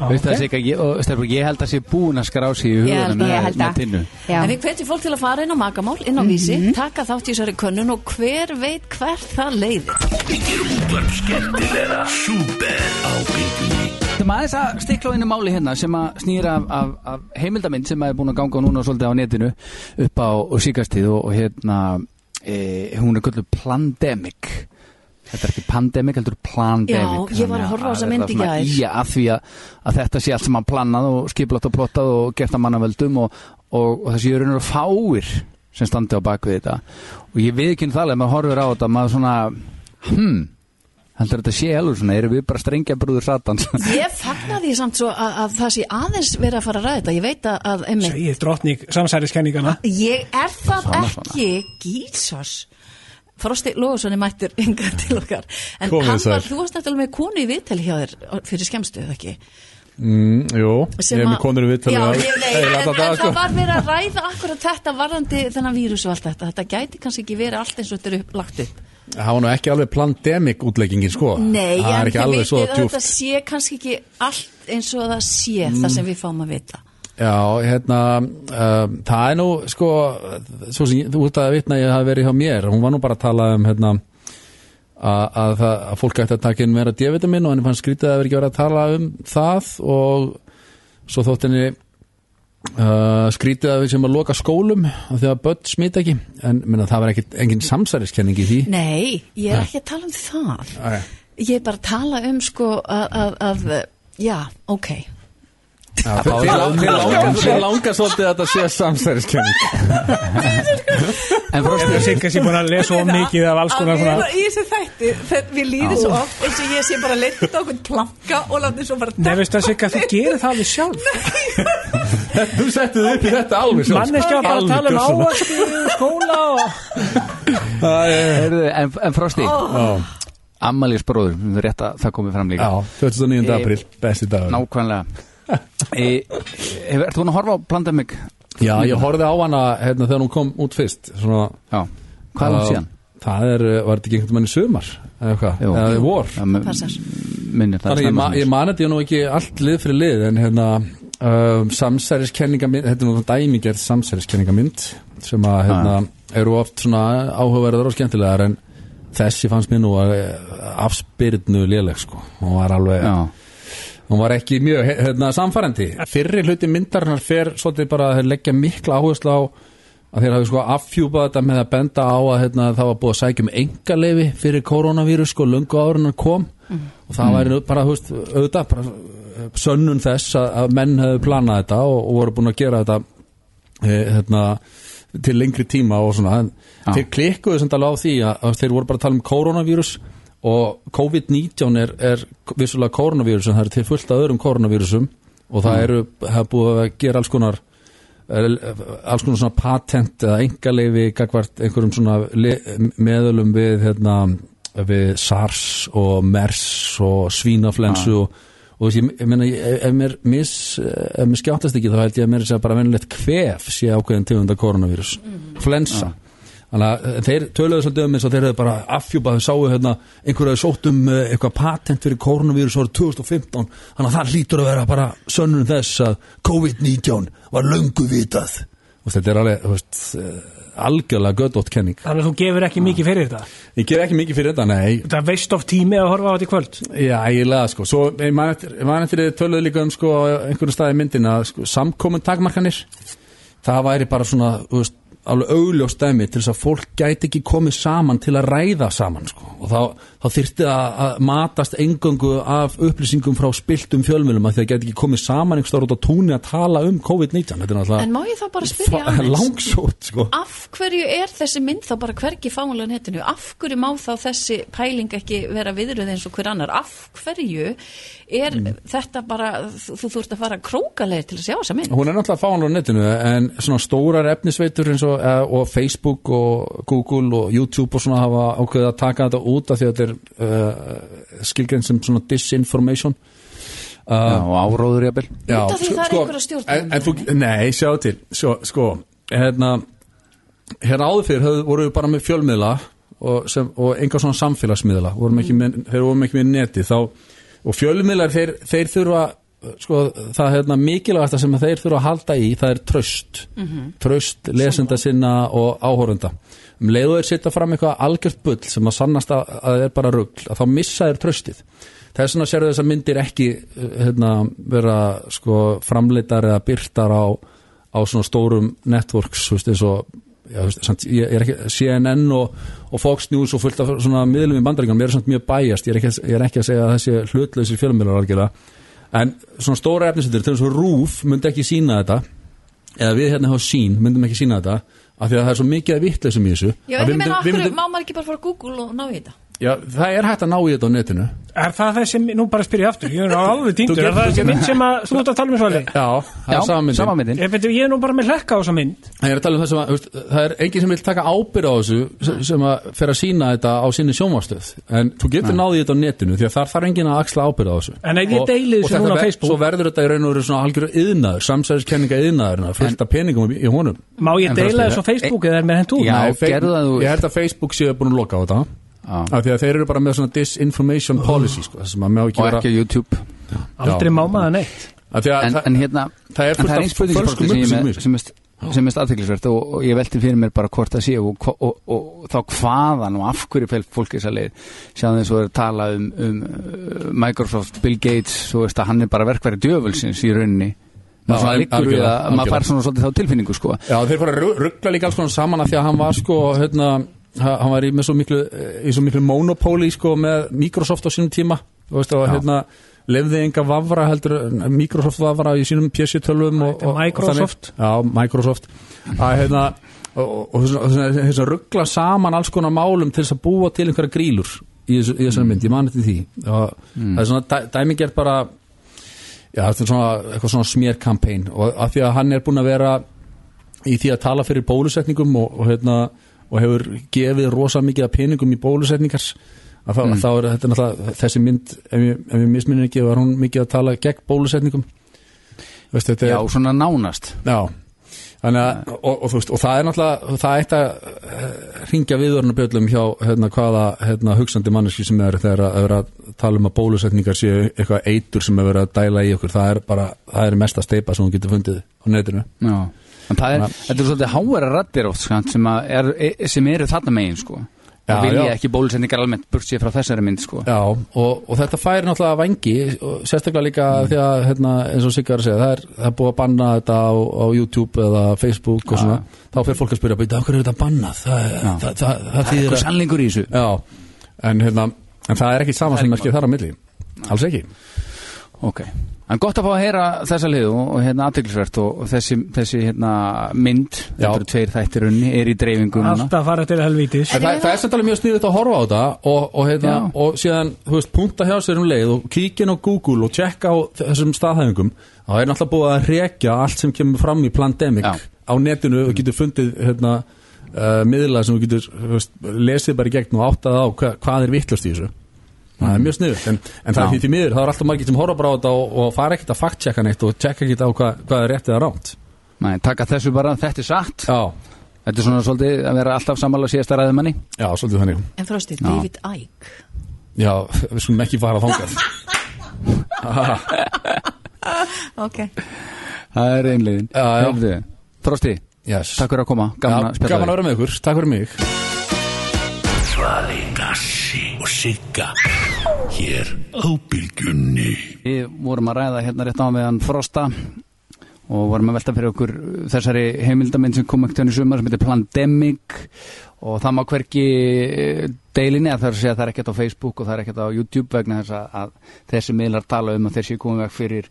[SPEAKER 4] Ah,
[SPEAKER 2] Veist það Sigga, ég, og, stelpur, ég held að sé búin að skrá sig í
[SPEAKER 3] held
[SPEAKER 2] hugunum
[SPEAKER 3] að- ég held
[SPEAKER 2] með
[SPEAKER 3] að.
[SPEAKER 2] tinnu
[SPEAKER 11] Já.
[SPEAKER 3] En við hvetjum fólk til að fara inn á magamál, inn á vísi, taka þátt í þessari könnun og hver veit hvert það leiðir.
[SPEAKER 1] Útvarp skemmtilega Súper á bylgjunni
[SPEAKER 2] Sem aðeins að stikla á einu máli hérna sem að snýra af, af, af heimildamind sem að er búin að ganga núna svolítið á netinu upp á og síkastíð og, og hérna e, hún er gölluð Plandemic Þetta er ekki pandemic, heldur
[SPEAKER 3] Já,
[SPEAKER 2] plandemic
[SPEAKER 3] ég var að horfa á þessa mynd í gær.
[SPEAKER 2] Í að því að, að þetta sé allt saman plannað og skiplagt og plottað og gert að mannavöldum og, og, og þessi eru og fáir sem standi á bakvið þetta og ég veið ekki það að maður horfir á þetta maður svona, hmm, heldur þetta sé alveg svona, erum við bara strengja brúður satans
[SPEAKER 3] Ég fagna því samt svo að, að það sé aðeins verið að fara að ræða þetta. Ég veit að, að emmi,
[SPEAKER 4] Segir drottning samsæriskenningana
[SPEAKER 3] ég er það
[SPEAKER 4] Svona,
[SPEAKER 3] ekki gísas. Frosti Lóðsson er mættur yngar til okkar. En
[SPEAKER 12] Komið
[SPEAKER 3] hann var,
[SPEAKER 12] sæl.
[SPEAKER 3] þú varst náttúrulega með konu í viðtali hjá þér fyrir skemmstu, eða ekki?
[SPEAKER 12] Mm, jú,
[SPEAKER 3] Sem
[SPEAKER 12] ég er
[SPEAKER 3] að-
[SPEAKER 12] með konur í vitt
[SPEAKER 3] Já, ég, nei, en, en
[SPEAKER 12] sko.
[SPEAKER 3] það var verið að ræða akkurat þetta varðandi þennan vírus og allt þetta. Þetta gæti kannski ekki verið allt eins og þetta er upp, lagt upp.
[SPEAKER 12] Það var nú ekki alveg plandemic útleggingin sko
[SPEAKER 3] Nei,
[SPEAKER 12] Það
[SPEAKER 3] en
[SPEAKER 12] er ekki
[SPEAKER 3] þið
[SPEAKER 12] alveg svo
[SPEAKER 3] vitið að
[SPEAKER 12] djúft
[SPEAKER 3] Þetta sé kannski ekki allt eins og það sé
[SPEAKER 12] Mm.
[SPEAKER 3] það sem við fáum að vita.
[SPEAKER 12] Já, hérna, um, það er nú sko, svo sem ég- þú ert að vitna ég hafi verið hjá mér, hún var nú bara að tala um hérna, að, að, það, að fólk ætti að taka inn meira D-vitamin og henni fannst skrítið að vera ekki verið að tala um það og svo þótt henni uh, skrítið að við sem að loka skólum af því að börn smita ekki en minna, það var ekkit, engin samsæriskenning í því
[SPEAKER 3] Nei, ég er
[SPEAKER 12] Nei.
[SPEAKER 3] ekki að tala um það.
[SPEAKER 12] Æ,
[SPEAKER 3] Ég er bara að tala um sko að, að, að já, ok.
[SPEAKER 12] já,
[SPEAKER 2] Þið
[SPEAKER 12] það var-
[SPEAKER 2] lang- þið langar- þið
[SPEAKER 12] langar svolítið að þetta sé
[SPEAKER 11] [laughs]
[SPEAKER 12] samsæriskenning
[SPEAKER 2] En
[SPEAKER 4] Frosti Ég sé kannski búin að lesa of mikið af alls konar
[SPEAKER 14] Að við
[SPEAKER 4] svona
[SPEAKER 14] erum í þessu þætti þegar við líðum
[SPEAKER 4] Já.
[SPEAKER 14] svo oft eins og ég sé bara leitt á okkur planka og látum svo bara
[SPEAKER 4] Nei, veistu að Sigga, þú gerir það alveg sjálf
[SPEAKER 12] [laughs] Þú settu þið upp í þetta alveg sjálf
[SPEAKER 4] Manneskja var bara að tala um
[SPEAKER 12] Alveg gjörsamlega.
[SPEAKER 4] ávægstu, skóla og
[SPEAKER 2] Heyrðu, en, en Frosti
[SPEAKER 4] Ó.
[SPEAKER 2] Amalís bróður, við rétt að það komið fram líka
[SPEAKER 12] Já, 29.
[SPEAKER 2] Eh,
[SPEAKER 12] apríl, besti dagur
[SPEAKER 2] Nákvæmlega e, Hefur þú búin að horfa á Plandemic?
[SPEAKER 12] Já, ég horfði á hana hérna, þegar hún kom út fyrst svona,
[SPEAKER 2] Já, hvað er hún síðan?
[SPEAKER 12] Það er, uh, var þetta ekki einhvern veginn í sumar eða eitthvað,
[SPEAKER 2] Jú.
[SPEAKER 12] eða í vor
[SPEAKER 3] Passar.
[SPEAKER 2] Minnir það
[SPEAKER 12] Þannig ég, ma ég mani þetta ég nú ekki allt lið fyrir lið en hérna um, samsæriskenningamind, þetta er nú dæmigerð samsæriskenningamind sem að hérna, eru oft svona áhugaverðar og skemmtilegar en þessi fannst mér nú að afspyrnu léleg sko, hún var alveg
[SPEAKER 2] Já.
[SPEAKER 12] hún var ekki mjög he- hérna, samfærandi fyrri hluti myndarinnar fer svolítið bara að þeir leggja mikla áherslu á að þeir hafi sko affjúpað þetta með að benda á að hérna, það var búið að sækja um engaleifi fyrir koronavírus sko löngu árunar kom og það væri bara, þú veist, auðvitað bara eh, sönnun þess að, að menn hefðu planað þetta og, og voru búin að gera þetta e, hérna, til lengri tíma og svona en þeir klikkuðu sem alveg á því að, að þeir voru bara að tala um koronavírus og COVID-19 er, er vissulega koronavírus en það er til fullt af öðrum koronavírusum og það
[SPEAKER 2] Mm.
[SPEAKER 12] eru, hefur búið að gera alls konar er alls konar svona patent eða engaleifi gagvart einhverjum svona le- meðölum við, hérna, við SARS og MERS og svínaflensu
[SPEAKER 2] Ah.
[SPEAKER 12] og, og þessi, ég, ég meina ég- ef, ef mér mis, ef mér skjáttast ekki þá held ég að mér sé bara venilegt kvef sé ákveðin tegunda koronavírus flensa Þannig að eh, þeir töluðu svolítið um eins og þeir hefðu bara afhjúpað, þeir sáu hérna einhverju hefðu sótt um eh, eitthvað patent fyrir koronavírus árið 2015, þannig að það lítur að vera bara sönnun þess að COVID-19 var löngu vitað. Og þetta er alveg, þú veist, eh, algjörlega gödótt kenning.
[SPEAKER 4] Þannig að þú gefur ekki mikið fyrir þetta
[SPEAKER 12] Ég gef ekki mikið fyrir þetta, nei.
[SPEAKER 4] Þetta er veist of tími að horfa á þetta í kvöld
[SPEAKER 12] Já, eiginlega, sko. Svo, ég man eftir, ég man eftir þið töluðu líka um, sko, einhverju staði myndin að sko, samkominn takmarkanir, það væri bara svona, þú veist, alveg augljós dæmi til þess að fólk gæti ekki komið saman til að ræða saman, sko. Og þá, þá þyrfti að, að matast engöngu af upplýsingum frá spiltum fjölmjölum að því að gæti ekki komið saman einhverstaður út á túnni að tala um COVID-19. Þetta er
[SPEAKER 3] En má
[SPEAKER 12] náttúrulega
[SPEAKER 3] ég þá bara spyrja
[SPEAKER 12] fa- [laughs]
[SPEAKER 3] aðeins?
[SPEAKER 12] langsótt, sko.
[SPEAKER 3] Af hverju er þessi mynd þá bara hvergi fáinlega netinu? Af hverju má þá þessi pæling ekki vera viðröð eins og hver annar? Af hverju er
[SPEAKER 2] Mm.
[SPEAKER 3] þetta bara, þú, þú þurft að fara krókalegir til að sjá þessa mynd?
[SPEAKER 12] Hún er náttúrulega fáanlega á netinu en svona stórar efnisveitur eins og, eh, og Facebook og Google og YouTube og svona hafa ákveðið að taka þetta út af því að þetta er uh, skilgrein sem svona disinformation uh, Já,
[SPEAKER 2] og áróður jafnvel
[SPEAKER 12] Já,
[SPEAKER 3] Út af því
[SPEAKER 12] sko-
[SPEAKER 3] það er
[SPEAKER 12] sko,
[SPEAKER 3] einhver að stjórna
[SPEAKER 12] en, en þú, Nei, sjá til sjá, Sko, hérna hérna áður fyrir höfðu, voru við bara með fjölmiðla og, sem, og enga svona samfélagsmiðla vorum ekki með, þeir vorum ekki með neti þá, og fjölmiðlar þeir, þeir þurfa sko, það hérna mikilvægasta sem þeir þurfa að halda í það er tröst
[SPEAKER 1] Mhm.
[SPEAKER 12] tröst lesenda sinna og áhórunda um leiðu þeir setja fram eitthvað algjört bull sem að sannast að, að það er bara rugl að þá missa þeir tröstið þess vegna sérðu þessar myndir ekki eh, hérna, vera sko, framleitar eða byrtar á, á svona stórum networks þú veist, eins og já, þú veist, samt, ég ég er ekki, CNN og, og Fox News og fullt af svona miðlum í bandaríkanum ég er samt mjög bæjast, ég er ekki, að- ég er ekki að segja að þessi hlutlausir fjölmjölar algjörlega en svona stóra efnisendur, til þess að RÚF myndi ekki sína þetta eða við hérna hjá sín myndum ekki sína þetta af því að það er svo mikið að vitleysum í þessu
[SPEAKER 3] Já,
[SPEAKER 12] að
[SPEAKER 3] en
[SPEAKER 12] við
[SPEAKER 3] ég meina,
[SPEAKER 12] myndum-
[SPEAKER 3] af
[SPEAKER 12] við
[SPEAKER 3] hverju
[SPEAKER 12] myndum-
[SPEAKER 3] má maður ekki bara fara að Google og ná í þetta?
[SPEAKER 12] Já, það er hægt að ná í þetta á netinu
[SPEAKER 4] Er það þessi, nú bara spyr ég aftur, ég er alveg
[SPEAKER 12] Þú
[SPEAKER 4] týndur, er
[SPEAKER 12] getur-
[SPEAKER 4] það
[SPEAKER 12] þú
[SPEAKER 4] þessi
[SPEAKER 12] getur-
[SPEAKER 4] mynd sem [laughs] að, þú ert að tala um svali?
[SPEAKER 12] Já, það er sama myndin. sama myndin.
[SPEAKER 4] Ég, veitum, ég er nú bara með hlekka á þessa mynd.
[SPEAKER 12] Það er að tala um það sem að, þú veist, það er enginn sem vil taka ábyrð á þessu sem- sem að fer að sína þetta á sinni sjónvastöð en þú getur náðið þetta á netinu því að þar þarf enginn að axla ábyrð á þessu
[SPEAKER 4] En ef ég
[SPEAKER 12] Og-
[SPEAKER 4] deili
[SPEAKER 12] og
[SPEAKER 4] þessu
[SPEAKER 12] þetta
[SPEAKER 4] núna á
[SPEAKER 12] ver-
[SPEAKER 4] Facebook?
[SPEAKER 12] Svo verður þetta í raun og veru svona algjöru yðnaður, samsæðiskenninga yðnaðurna fullt af peningum í, í honum
[SPEAKER 4] Má ég
[SPEAKER 12] En
[SPEAKER 4] deila
[SPEAKER 12] fyrir-
[SPEAKER 4] þessu á Facebook eða er mér hendt út?
[SPEAKER 12] Nei, fe- Ég
[SPEAKER 4] um
[SPEAKER 12] held að Facebook séu búin að loka á þetta af því að þeir eru bara með svona disinformation policy sko, sem að má ekki
[SPEAKER 2] Og
[SPEAKER 12] vera
[SPEAKER 2] ekki YouTube
[SPEAKER 4] Aldrei má maður neitt.
[SPEAKER 2] en, en hérna,
[SPEAKER 12] það er
[SPEAKER 2] en
[SPEAKER 12] fullt
[SPEAKER 2] það er
[SPEAKER 12] af
[SPEAKER 2] einn spurning
[SPEAKER 12] fölskum
[SPEAKER 2] sem, ég er
[SPEAKER 12] upplýsingum í
[SPEAKER 2] með-
[SPEAKER 12] þessu.
[SPEAKER 2] sem, er- sem er staðteglisvert og, og ég velti fyrir mér bara hvort það sé og, og, og, og þá hvaðan og af hverju fel fólk þess að leið sjáðum þess að vera að tala um, um uh, Microsoft, Bill Gates svo veist að hann er bara verkværi djöfulsins í rauninni
[SPEAKER 12] Já,
[SPEAKER 2] maður svona liggur við
[SPEAKER 12] algjörlega,
[SPEAKER 2] að
[SPEAKER 12] algjörlega.
[SPEAKER 2] maður fær svona svolítið þá tilfinningu sko
[SPEAKER 12] Já, þeir fóru að ruggla líka alls konar saman af því að hann var sko, hérna, ha- hann var í, með svo miklu, í svo miklu monopóli sko með Microsoft á sínum tíma, þú veist, og
[SPEAKER 4] Já.
[SPEAKER 12] hérna lefði enga vafra heldur, en Microsoft vafra í sínum PC-tölvum og, og,
[SPEAKER 4] Microsoft.
[SPEAKER 12] og þannig, Já, Microsoft að hérna og, og, og þess að ruggla saman alls konar málum til þess að búa til einhverja grílur í, þessu, í þessari mynd, ég man eftir því og
[SPEAKER 4] Mm.
[SPEAKER 12] það er svona dæ, dæmingert bara Já, þetta er svona, eitthvað svona smerkampæn og af því að hann er búin að vera í því að tala fyrir bólusetningum og, og, hérna, og hefur gefið rosa mikið af peningum í bólusetningar að þá,
[SPEAKER 2] Mm.
[SPEAKER 12] þá er þetta náttúrulega þessi mynd, ef ég, ef ég misminni ekki var hún mikið að tala gegn bólusetningum Veist, þetta er-
[SPEAKER 2] já, svona nánast
[SPEAKER 12] Já, þannig að og, og, þú veist, og það er náttúrulega, það eitt að ringja viðvörunabjöllum hjá hérna, hvaða hérna, hugsandi manneski sem er þegar að, að vera að tala um að bólusetningar séu eitthvað eitur sem er verið að dæla í okkur það er bara, það er mesta steipa sem hún getur fundið á netinu
[SPEAKER 2] já. en það er, þetta er svolítið háværa rættir oft sko, sem, að er, e- sem eru þarna megin sko
[SPEAKER 12] Já,
[SPEAKER 2] og vilja
[SPEAKER 12] já.
[SPEAKER 2] ekki bólusendingar almennt burt sér frá þessari mynd sko
[SPEAKER 12] Já, og, og þetta fær náttúrulega vangi og sérstaklega líka því að hérna, eins og Sigga var að segja, það er, það er búið að banna þetta á, á YouTube eða Facebook og svona, þá fyrir fólk að spyrja "Bíddu, af hverju er þetta bannað, það, það, það, það,
[SPEAKER 2] Það er
[SPEAKER 12] þýðir
[SPEAKER 2] einhver
[SPEAKER 12] að-
[SPEAKER 2] sannleikur í þessu.
[SPEAKER 12] Já, en, hérna, en það er ekki saman sem merkið þar á milli alls ekki
[SPEAKER 2] Ok, en gott að fá að heyra þessa lið og, og hérna aðteglisvert og, og þessi, þessi hérna mynd, þetta eru tveir þættir unni, er í dreifingu núna
[SPEAKER 4] Alltaf fara til helvítis.
[SPEAKER 12] En það, það er samt alveg mjög sniðið að horfa á þetta og, og, heitna, og síðan, þú veist, punta hjá sér um leið og kíkin á Google og tjekka á þessum staðhæfingum þá er náttúrulega búið að rekja allt sem kemur fram í Plandemic á netinu og getur fundið hérna, uh, miðla sem þú getur þú veist, lesið bara í gegn og áttað á hva, hvað er vittlust í þessu það er mjög sniðið, en, en það er
[SPEAKER 2] Já.
[SPEAKER 12] því því miður það er alltaf margir sem horfa bara á þetta og, og fara ekkert að fact-checka neitt og checka ekkert á hvað, hvað er rétt eða rámt
[SPEAKER 2] Nei, taka þessu bara, þetta er satt
[SPEAKER 12] Já
[SPEAKER 2] Þetta er svona svolítið að vera alltaf sammála síðasta ræðumanni
[SPEAKER 12] Já, svolítið þannig
[SPEAKER 14] En frástu,
[SPEAKER 2] Já.
[SPEAKER 14] David Icke
[SPEAKER 12] Já, við skulum ekki fara þangað
[SPEAKER 14] Ok
[SPEAKER 2] [laughs] Það er einlegin
[SPEAKER 12] já.
[SPEAKER 2] Þrósti,
[SPEAKER 12] yes.
[SPEAKER 2] takk fyrir að koma,
[SPEAKER 12] Já,
[SPEAKER 2] gaman að spjalla
[SPEAKER 12] gaman að
[SPEAKER 2] við.
[SPEAKER 12] vera með ykkur, takk fyrir mig
[SPEAKER 1] Svali, Gassi og Sigga Hér á Bylgjunni
[SPEAKER 2] Við vorum að ræða hérna rétt á meðan Frosta og vorum að velta fyrir okkur þessari heimildamind sem kom ekkert hérna í sumar sem heitir Plandemic og það má hverki eh, deilinni að það er að segja að það er ekkert á Facebook og það er ekkert á YouTube vegna þess að, að þessi miðlar tala um að þeir séu komið vekk fyrir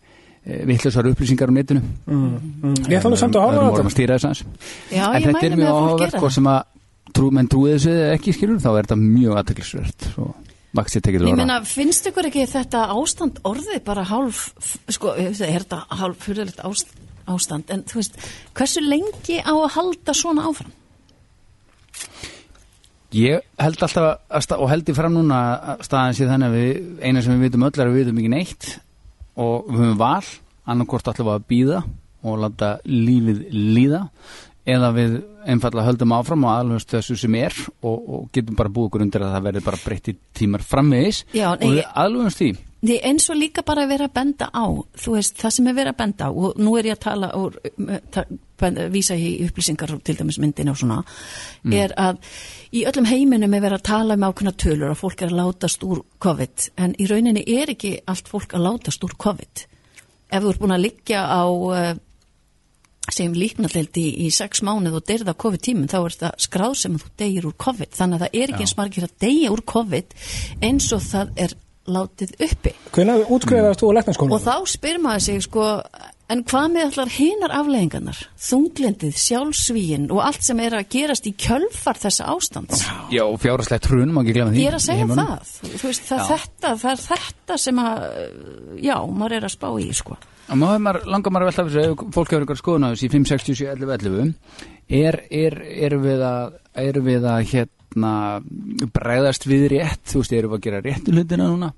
[SPEAKER 2] vittlusar upplýsingar á netinu
[SPEAKER 4] Mm,
[SPEAKER 2] eh,
[SPEAKER 4] Ég ætla nú samt að horfa á
[SPEAKER 2] Við vorum að
[SPEAKER 4] þetta.
[SPEAKER 2] stýra þess aðeins
[SPEAKER 14] Já,
[SPEAKER 2] En
[SPEAKER 14] ég
[SPEAKER 2] þetta
[SPEAKER 14] mæli
[SPEAKER 2] er
[SPEAKER 14] með
[SPEAKER 2] mjög
[SPEAKER 14] að fólk
[SPEAKER 2] áhugavert
[SPEAKER 14] gera
[SPEAKER 2] hvort
[SPEAKER 14] það.
[SPEAKER 2] sem að trú, menn trúið þessu eða ekki skilur þá er þetta mjög aðteklisvert og vaksið tekið til
[SPEAKER 14] Ég
[SPEAKER 2] orða.
[SPEAKER 14] meina, finnst ykkur ekki þetta ástand orðið bara hálf, sko, er þetta hálf fyrirlegt ást, ástand, en þú veist, hversu lengi á að halda svona áfram?
[SPEAKER 2] Ég held alltaf að sta- og held ég fram núna að staðan sé þannig að við, eina sem við vitum öll er að við vitum ekki neitt og við höfum val, annarkvort ætlum við að býða og láta lífið líða eða við einfallega höldum áfram og aðlumst þessu sem er og, og getum bara búið okkur undir að það verði bara breytti tímar framvegis
[SPEAKER 14] Já,
[SPEAKER 2] og
[SPEAKER 14] nei,
[SPEAKER 2] við
[SPEAKER 14] ég-
[SPEAKER 2] aðlumst því
[SPEAKER 14] Því eins og líka bara að vera að benda á, þú veist, það sem er verið að benda á og nú er ég að tala og ta, benda, vísa í upplýsingar til dæmis myndin og svona,
[SPEAKER 15] Mm.
[SPEAKER 14] er að í öllum heiminum er verið að tala um ákveðna tölur að fólk er að látast úr COVID en í rauninni er ekki allt fólk að látast úr COVID. Ef þú ert búin að liggja á eh, segjum líknarleildi í, í sex mánuð og deyrða COVID tímum þá er þetta skráð sem þú deyir úr COVID þannig að það er
[SPEAKER 4] Já.
[SPEAKER 14] ekki eins margir að deyja úr COVID eins og það er látið uppi
[SPEAKER 4] Hvenær útskrifaðast þú á læknaskóla?
[SPEAKER 14] og þá spyr maður sig sko
[SPEAKER 3] En hvað með allar hinar afleðingarnar? Þunglindið, sjálfsvíin og allt sem er að gerast í kjölfar þessa ástands.
[SPEAKER 2] Já, og fjárhastlegt hrun, má ekki glemma því
[SPEAKER 3] Ég er að
[SPEAKER 2] í
[SPEAKER 3] segja
[SPEAKER 2] heiminum.
[SPEAKER 3] það. Þú veist, það,
[SPEAKER 2] Já.
[SPEAKER 3] er þetta, það er þetta sem að, já, maður er að spá í, sko.
[SPEAKER 2] Og Nú hefur maður, langar maður að velta fyrir sig, ef fólk hefur einhver skoðun á þessu í 567 11 11 er, er, erum við að, erum við að hérna, bregðast við rétt, þú veist, erum við að gera réttu hlutina núna?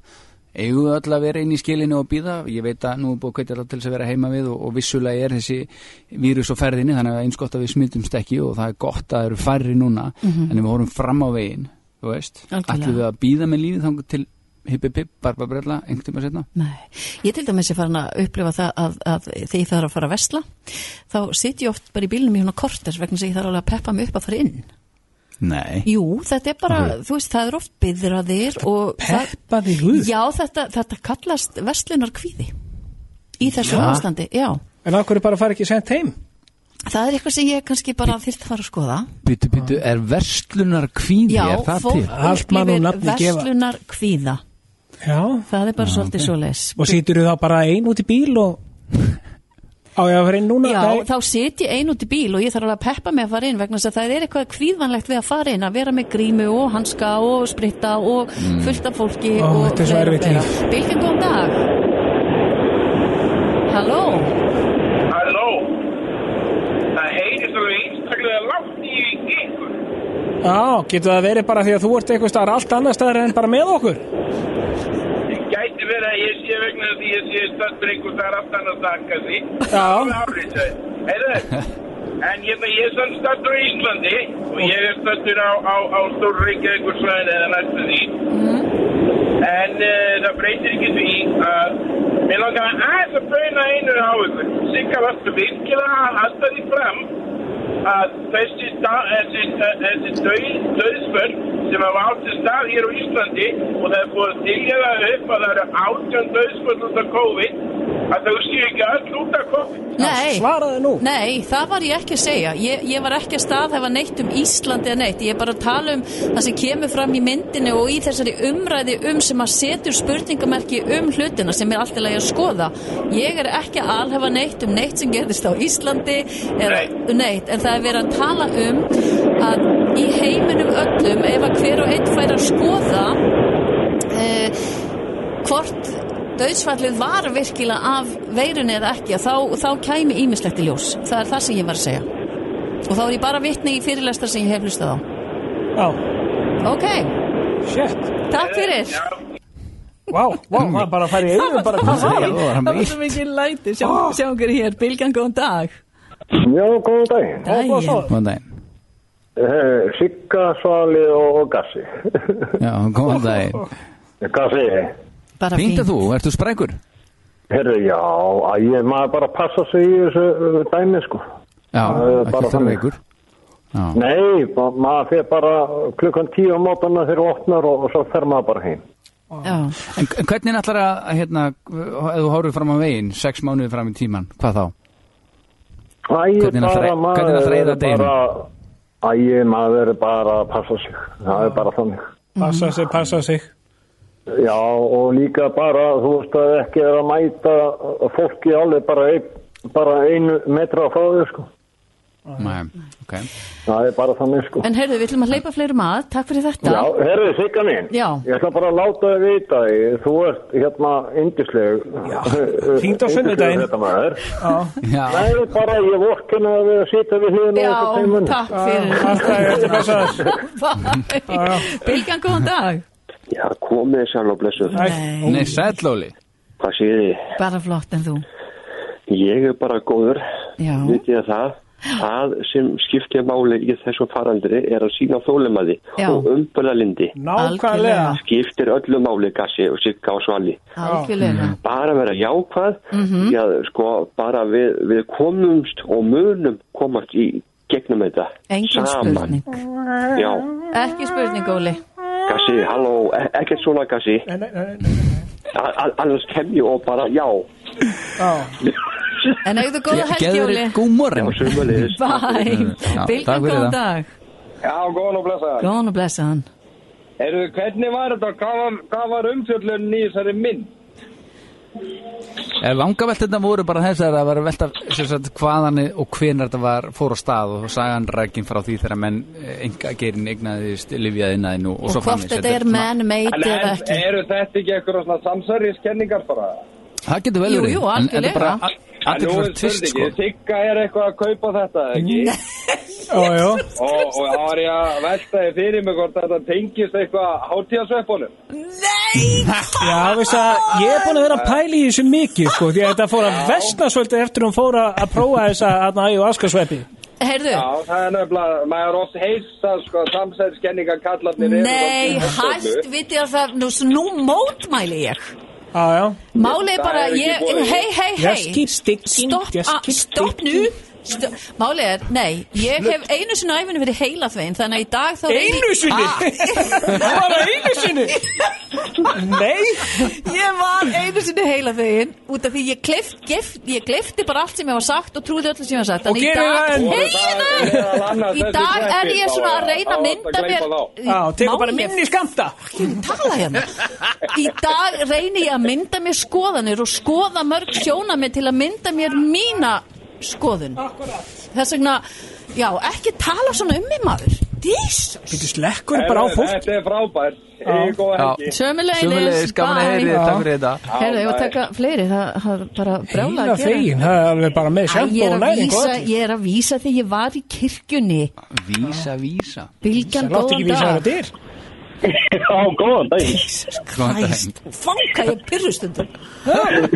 [SPEAKER 2] Eigum við öll að vera inn í skilinu og býða? Ég veit að nú er búið að kveitja alla til þess að vera heima við og, og vissulega er þessi vírus og ferðinni, þannig að eins gott að við smitumst ekki og það er gott að það eru færri núna,
[SPEAKER 3] Mhm.
[SPEAKER 2] en ef við horfum fram á veginn, þú veist,
[SPEAKER 3] Algjörlega.
[SPEAKER 2] ætlum við að býða með lífið þangur til hippipipp, barbabrella, einhvern tíma setna?
[SPEAKER 3] Nei. Ég til dæmis er farin að upplifa það að, að þegar ég þarf að fara að vesla, þá sit ég oft bara í bílnum í húnna korter vegna sem ég þarf alveg að peppa mig upp að fara inn.
[SPEAKER 2] Nei.
[SPEAKER 3] Jú, þetta er bara,
[SPEAKER 2] Af hverju?
[SPEAKER 3] þú veist, það er oft byðraðir og...
[SPEAKER 4] Peppaði
[SPEAKER 3] húð? Já, þetta, þetta kallast verslunar kvíði í þessu
[SPEAKER 4] Já.
[SPEAKER 3] ástandi, já.
[SPEAKER 4] En af hverju bara fara ekki sent heim?
[SPEAKER 3] Það er eitthvað sem ég kannski bara þyrfti að fara að skoða.
[SPEAKER 2] Byttu, byttu, er verslunar kvíði,
[SPEAKER 3] Já,
[SPEAKER 2] er það til?
[SPEAKER 3] verslunar kvíða.
[SPEAKER 4] Já.
[SPEAKER 3] Það er bara svolítið okay. svoleiðis.
[SPEAKER 4] Og situr þú þá bara ein út í bíl og á ég að fara inn núna?
[SPEAKER 3] Já,
[SPEAKER 4] Nei.
[SPEAKER 3] þá sit ég ein út í bíl og ég þarf alveg að peppa mig að fara inn vegna þess að það er eitthvað kvíðvanlegt við að fara inn að vera með grímu og hanska og spritta og fullt af fólki
[SPEAKER 4] Ó,
[SPEAKER 3] og
[SPEAKER 4] þetta er svo
[SPEAKER 3] fleira og
[SPEAKER 4] erfitt
[SPEAKER 3] fleira.
[SPEAKER 4] líf.
[SPEAKER 3] Bylgja, góðan dag Halló
[SPEAKER 7] Halló Það heyrist alveg einstaklega langt í ykkur
[SPEAKER 4] Já, getur það verið bara því að þú ert eitthvað staðar allt annað staðar en bara með okkur?
[SPEAKER 7] Ég gæti verið að ég sé vegna því ég sé stöndbringur einhvers staðar aftan að taka því
[SPEAKER 4] Já.
[SPEAKER 7] árið Heyrðu En hérna ég er sann stættur í Íslandi og ég er stættur á, á, á Stórreikja einhvers svæðin eða næstu því En uh, það breytir ekki því að mér langar að aðeins að breyna einu á ykkur Sigga varstu virkilega að halda því fram að þessi, stað, þessi, eh, þessi döð, döðsföll sem hafa átt sér stað hér á Íslandi og það er búið að tilja það upp að það eru átján döðsföll út af COVID að þau séu ekki öll út af COVID
[SPEAKER 3] Nei,
[SPEAKER 4] svaraði nú
[SPEAKER 3] Nei, það var ég ekki að segja Ég, ég var ekki að staðhefa neitt um Íslandi eða neitt Ég er bara að tala um það sem kemur fram í myndinu og í þessari umræði um sem að setur spurningamerki um hlutina sem er alltaf að skoða Ég er ekki að alhefa neitt um neitt sem gerðist á Íslandi eða neitt En það er verið að tala um að í heiminum öllum ef að hver og einn fær að skoða eh, hvort döðsfallið var virkilega af veirunni eða ekki að þá, þá kæmi ímislegt í ljós það er það sem ég var að segja og þá er ég bara vitni í fyrirlestar sem ég hef hlustað á
[SPEAKER 4] Já
[SPEAKER 3] ok,
[SPEAKER 4] Shit.
[SPEAKER 3] takk fyrir
[SPEAKER 4] Vá, vá, maður bara að fara í einu bara hvað það
[SPEAKER 3] það var, það var svo mikið læti sjá, oh. sjáum hver hér, Bilgjan, góðan dag
[SPEAKER 15] Já, góðan daginn.
[SPEAKER 2] Góðan daginn.
[SPEAKER 15] Eh, Sigga, Svali og, og Gassi. [laughs]
[SPEAKER 2] Já, góðan daginn.
[SPEAKER 15] Gassi,
[SPEAKER 3] Bara
[SPEAKER 2] fínt. Fínt að þú, ertu sprækur?
[SPEAKER 15] herru, já, að ég maður bara passa sig í þessu uh, dæmi, sko.
[SPEAKER 2] Já,
[SPEAKER 15] Það er bara
[SPEAKER 2] ekki þarf
[SPEAKER 15] þannig.
[SPEAKER 2] veikur.
[SPEAKER 15] Nei, ma- maður fyrir bara klukkan tíu á mótana þegar þú opnar og, og svo fer maður bara heim.
[SPEAKER 2] En en hvernig ætlar að, að, hérna, ef þú horfir fram á veginn, sex mánuði fram í tíman, hvað þá?
[SPEAKER 15] Æ,
[SPEAKER 2] Hvernig
[SPEAKER 15] bara
[SPEAKER 2] ætlar-
[SPEAKER 15] maður
[SPEAKER 2] hvernig ætlar að eyða
[SPEAKER 15] er
[SPEAKER 2] deginum?
[SPEAKER 15] bara- Æ, maður er bara að passa sig. Það er bara þannig.
[SPEAKER 4] Passa sig, passa sig
[SPEAKER 15] Já, og líka bara, þú veist að ekki er að mæta fólki alveg bara, ein, bara einu metra frá þau, sko.
[SPEAKER 2] Nei, ok.
[SPEAKER 15] Það er bara þannig, sko.
[SPEAKER 3] en heyrðu, við ætlum að hleypa fleirum að, takk fyrir þetta
[SPEAKER 15] Já, herru, Sigga mín.
[SPEAKER 3] Já.
[SPEAKER 15] Ég ætla bara að láta þau vita, ég- þú ert hérna yndisleg. [laughs] Já,
[SPEAKER 4] hringt á sunnudaginn.
[SPEAKER 15] Þetta maður.
[SPEAKER 2] Já.
[SPEAKER 15] Nei, bara ég vorkina að vera að sitja við hliðin
[SPEAKER 3] Já, takk fyrir [laughs] Bilgjan, góðan dag
[SPEAKER 16] Já, komið sjálf og blessuð.
[SPEAKER 3] Nei.
[SPEAKER 2] Nei, sællóli.
[SPEAKER 16] Hvað séu þið?
[SPEAKER 3] bara flott en þú
[SPEAKER 16] Ég er bara góður,
[SPEAKER 3] Já.
[SPEAKER 16] vitið að það. Það sem skiptir máli í þessum farandri er að sína þólimaði
[SPEAKER 3] Já.
[SPEAKER 16] og umbyrðalindi.
[SPEAKER 4] Nákvæmlega.
[SPEAKER 16] Skiptir öllu máli, gassi og sigga og svali.
[SPEAKER 3] algjörlega
[SPEAKER 16] Bara vera jákvæð,
[SPEAKER 3] Mhm.
[SPEAKER 16] því að sko bara við, við komumst og munum komast í gegnum þetta.
[SPEAKER 3] engin
[SPEAKER 16] Saman.
[SPEAKER 3] spurning
[SPEAKER 16] Já,
[SPEAKER 3] ekki spurning, Óli
[SPEAKER 16] gassi, halló, e ekkert svona gassi. A- a- Annars kem ég og bara já.
[SPEAKER 3] en eigðu góða helgi, Óli
[SPEAKER 2] góð morgun.
[SPEAKER 16] Já, sömulegis.
[SPEAKER 3] Bæ, Bilgjan, góðan dag
[SPEAKER 7] Já, góðan og blessaðan
[SPEAKER 3] Góðan og blessaðan
[SPEAKER 7] Erðu, hvernig var þetta? Hvað var, hvað var umfjöllunni í þessari mynd?
[SPEAKER 2] En langaveltirna voru bara þessar að vera að velta sem sagt, hvaðan og hvenar þetta var fór á stað og sagan rækinn frá því þegar menn enga gerin eignaðist, livjaðinaðin og, og svo
[SPEAKER 3] hvort
[SPEAKER 2] framvegis.
[SPEAKER 3] þetta er
[SPEAKER 2] svona-
[SPEAKER 3] man-made
[SPEAKER 17] En
[SPEAKER 3] eða
[SPEAKER 17] er,
[SPEAKER 3] ekki
[SPEAKER 17] eru þetta ekki eitthvað svona samsverðiskenningar bara?
[SPEAKER 2] Það getur vel
[SPEAKER 3] Jú,
[SPEAKER 2] verið.
[SPEAKER 3] jú,
[SPEAKER 2] en þetta er bara
[SPEAKER 3] algjörlega.
[SPEAKER 2] a- athyglisvert tvist, sko.
[SPEAKER 17] Sigga er eitthvað að kaupa þetta, ekki?
[SPEAKER 4] Jó, jó.
[SPEAKER 17] Og, og þá var ég að velta þið fyrir mig hvort þetta tengist eitthvað hátíðasveppunum.
[SPEAKER 4] Já, veist að ég er búin að vera að pæla í þessu mikið sko, því að þetta fór að vestna svolítið eftir hún fór að að prófa þessa aðna æju askasveppi
[SPEAKER 3] Heyrðu.
[SPEAKER 17] Já, það er nefnilega, maður er oft heilsa, sko, samsverðiskenningar kallarnir
[SPEAKER 3] Nei, hætt, vitið að það nú, nú mótmæli ég
[SPEAKER 4] Já, já
[SPEAKER 3] Málið er
[SPEAKER 17] Það
[SPEAKER 3] bara,
[SPEAKER 17] er ekki
[SPEAKER 3] ég,
[SPEAKER 17] boðið.
[SPEAKER 3] hei, hei, hei
[SPEAKER 17] Just keep sticking,
[SPEAKER 3] Stopp,
[SPEAKER 17] just
[SPEAKER 3] a-
[SPEAKER 17] keep
[SPEAKER 3] stopp nú Sto- Málið er, nei, ég hef einu sinni á æfinu verið heilaþvein, þannig að í dag þá reyni-
[SPEAKER 4] Einu sinni?
[SPEAKER 3] Ah.
[SPEAKER 4] Bara einu sinni? [laughs] Nei
[SPEAKER 3] Ég var einu sinni heilaþvegin út af því ég klift, gef, ég klifti bara allt sem ég var sagt og trúði öllu sem ég var sagt
[SPEAKER 4] Og
[SPEAKER 3] Þannig í
[SPEAKER 4] gerir það enn.
[SPEAKER 3] dag,
[SPEAKER 4] Voru meðal annars
[SPEAKER 3] heiðinu Í
[SPEAKER 4] þessi
[SPEAKER 3] dag er
[SPEAKER 4] sveppi,
[SPEAKER 3] ég svona að
[SPEAKER 4] þá-
[SPEAKER 3] reyna að
[SPEAKER 4] þá-
[SPEAKER 3] mynda
[SPEAKER 4] þá-
[SPEAKER 3] mér
[SPEAKER 4] þá- Já, tekur bara
[SPEAKER 3] Málið-
[SPEAKER 4] minni skamta
[SPEAKER 3] tala hérna Í dag reyni ég að mynda mér skoðanir og skoða mörg sjónamið til að mynda mér mína skoðun Akkurat. Þess vegna, já, ekki tala svona um mig maður Jesus
[SPEAKER 4] Þetta slekkur bara á fólk
[SPEAKER 17] Þetta er frábært, ég góð helgi.
[SPEAKER 3] Sömulegis,
[SPEAKER 2] Sömuleiðis, gaman að heyra í þér, takk fyrir þetta.
[SPEAKER 3] Herðu, ég var að taka fleiri, það það er bara brjála
[SPEAKER 4] Heila
[SPEAKER 3] að gera
[SPEAKER 4] fegin, það er alveg bara með
[SPEAKER 3] Æ,
[SPEAKER 4] sjampo
[SPEAKER 3] ég,
[SPEAKER 4] og
[SPEAKER 3] er að
[SPEAKER 4] næring
[SPEAKER 3] vísa, ég er að vísa því ég var í kirkjunni
[SPEAKER 2] Vísa, vísa
[SPEAKER 3] Bylgjan,
[SPEAKER 4] Vísa, láttu ekki
[SPEAKER 3] góðan
[SPEAKER 4] vísa
[SPEAKER 3] dag
[SPEAKER 4] þér að dyr. Já, góðan dag Jesus
[SPEAKER 2] Góðan dag.
[SPEAKER 3] Christ, Fanga ég pyrrustundum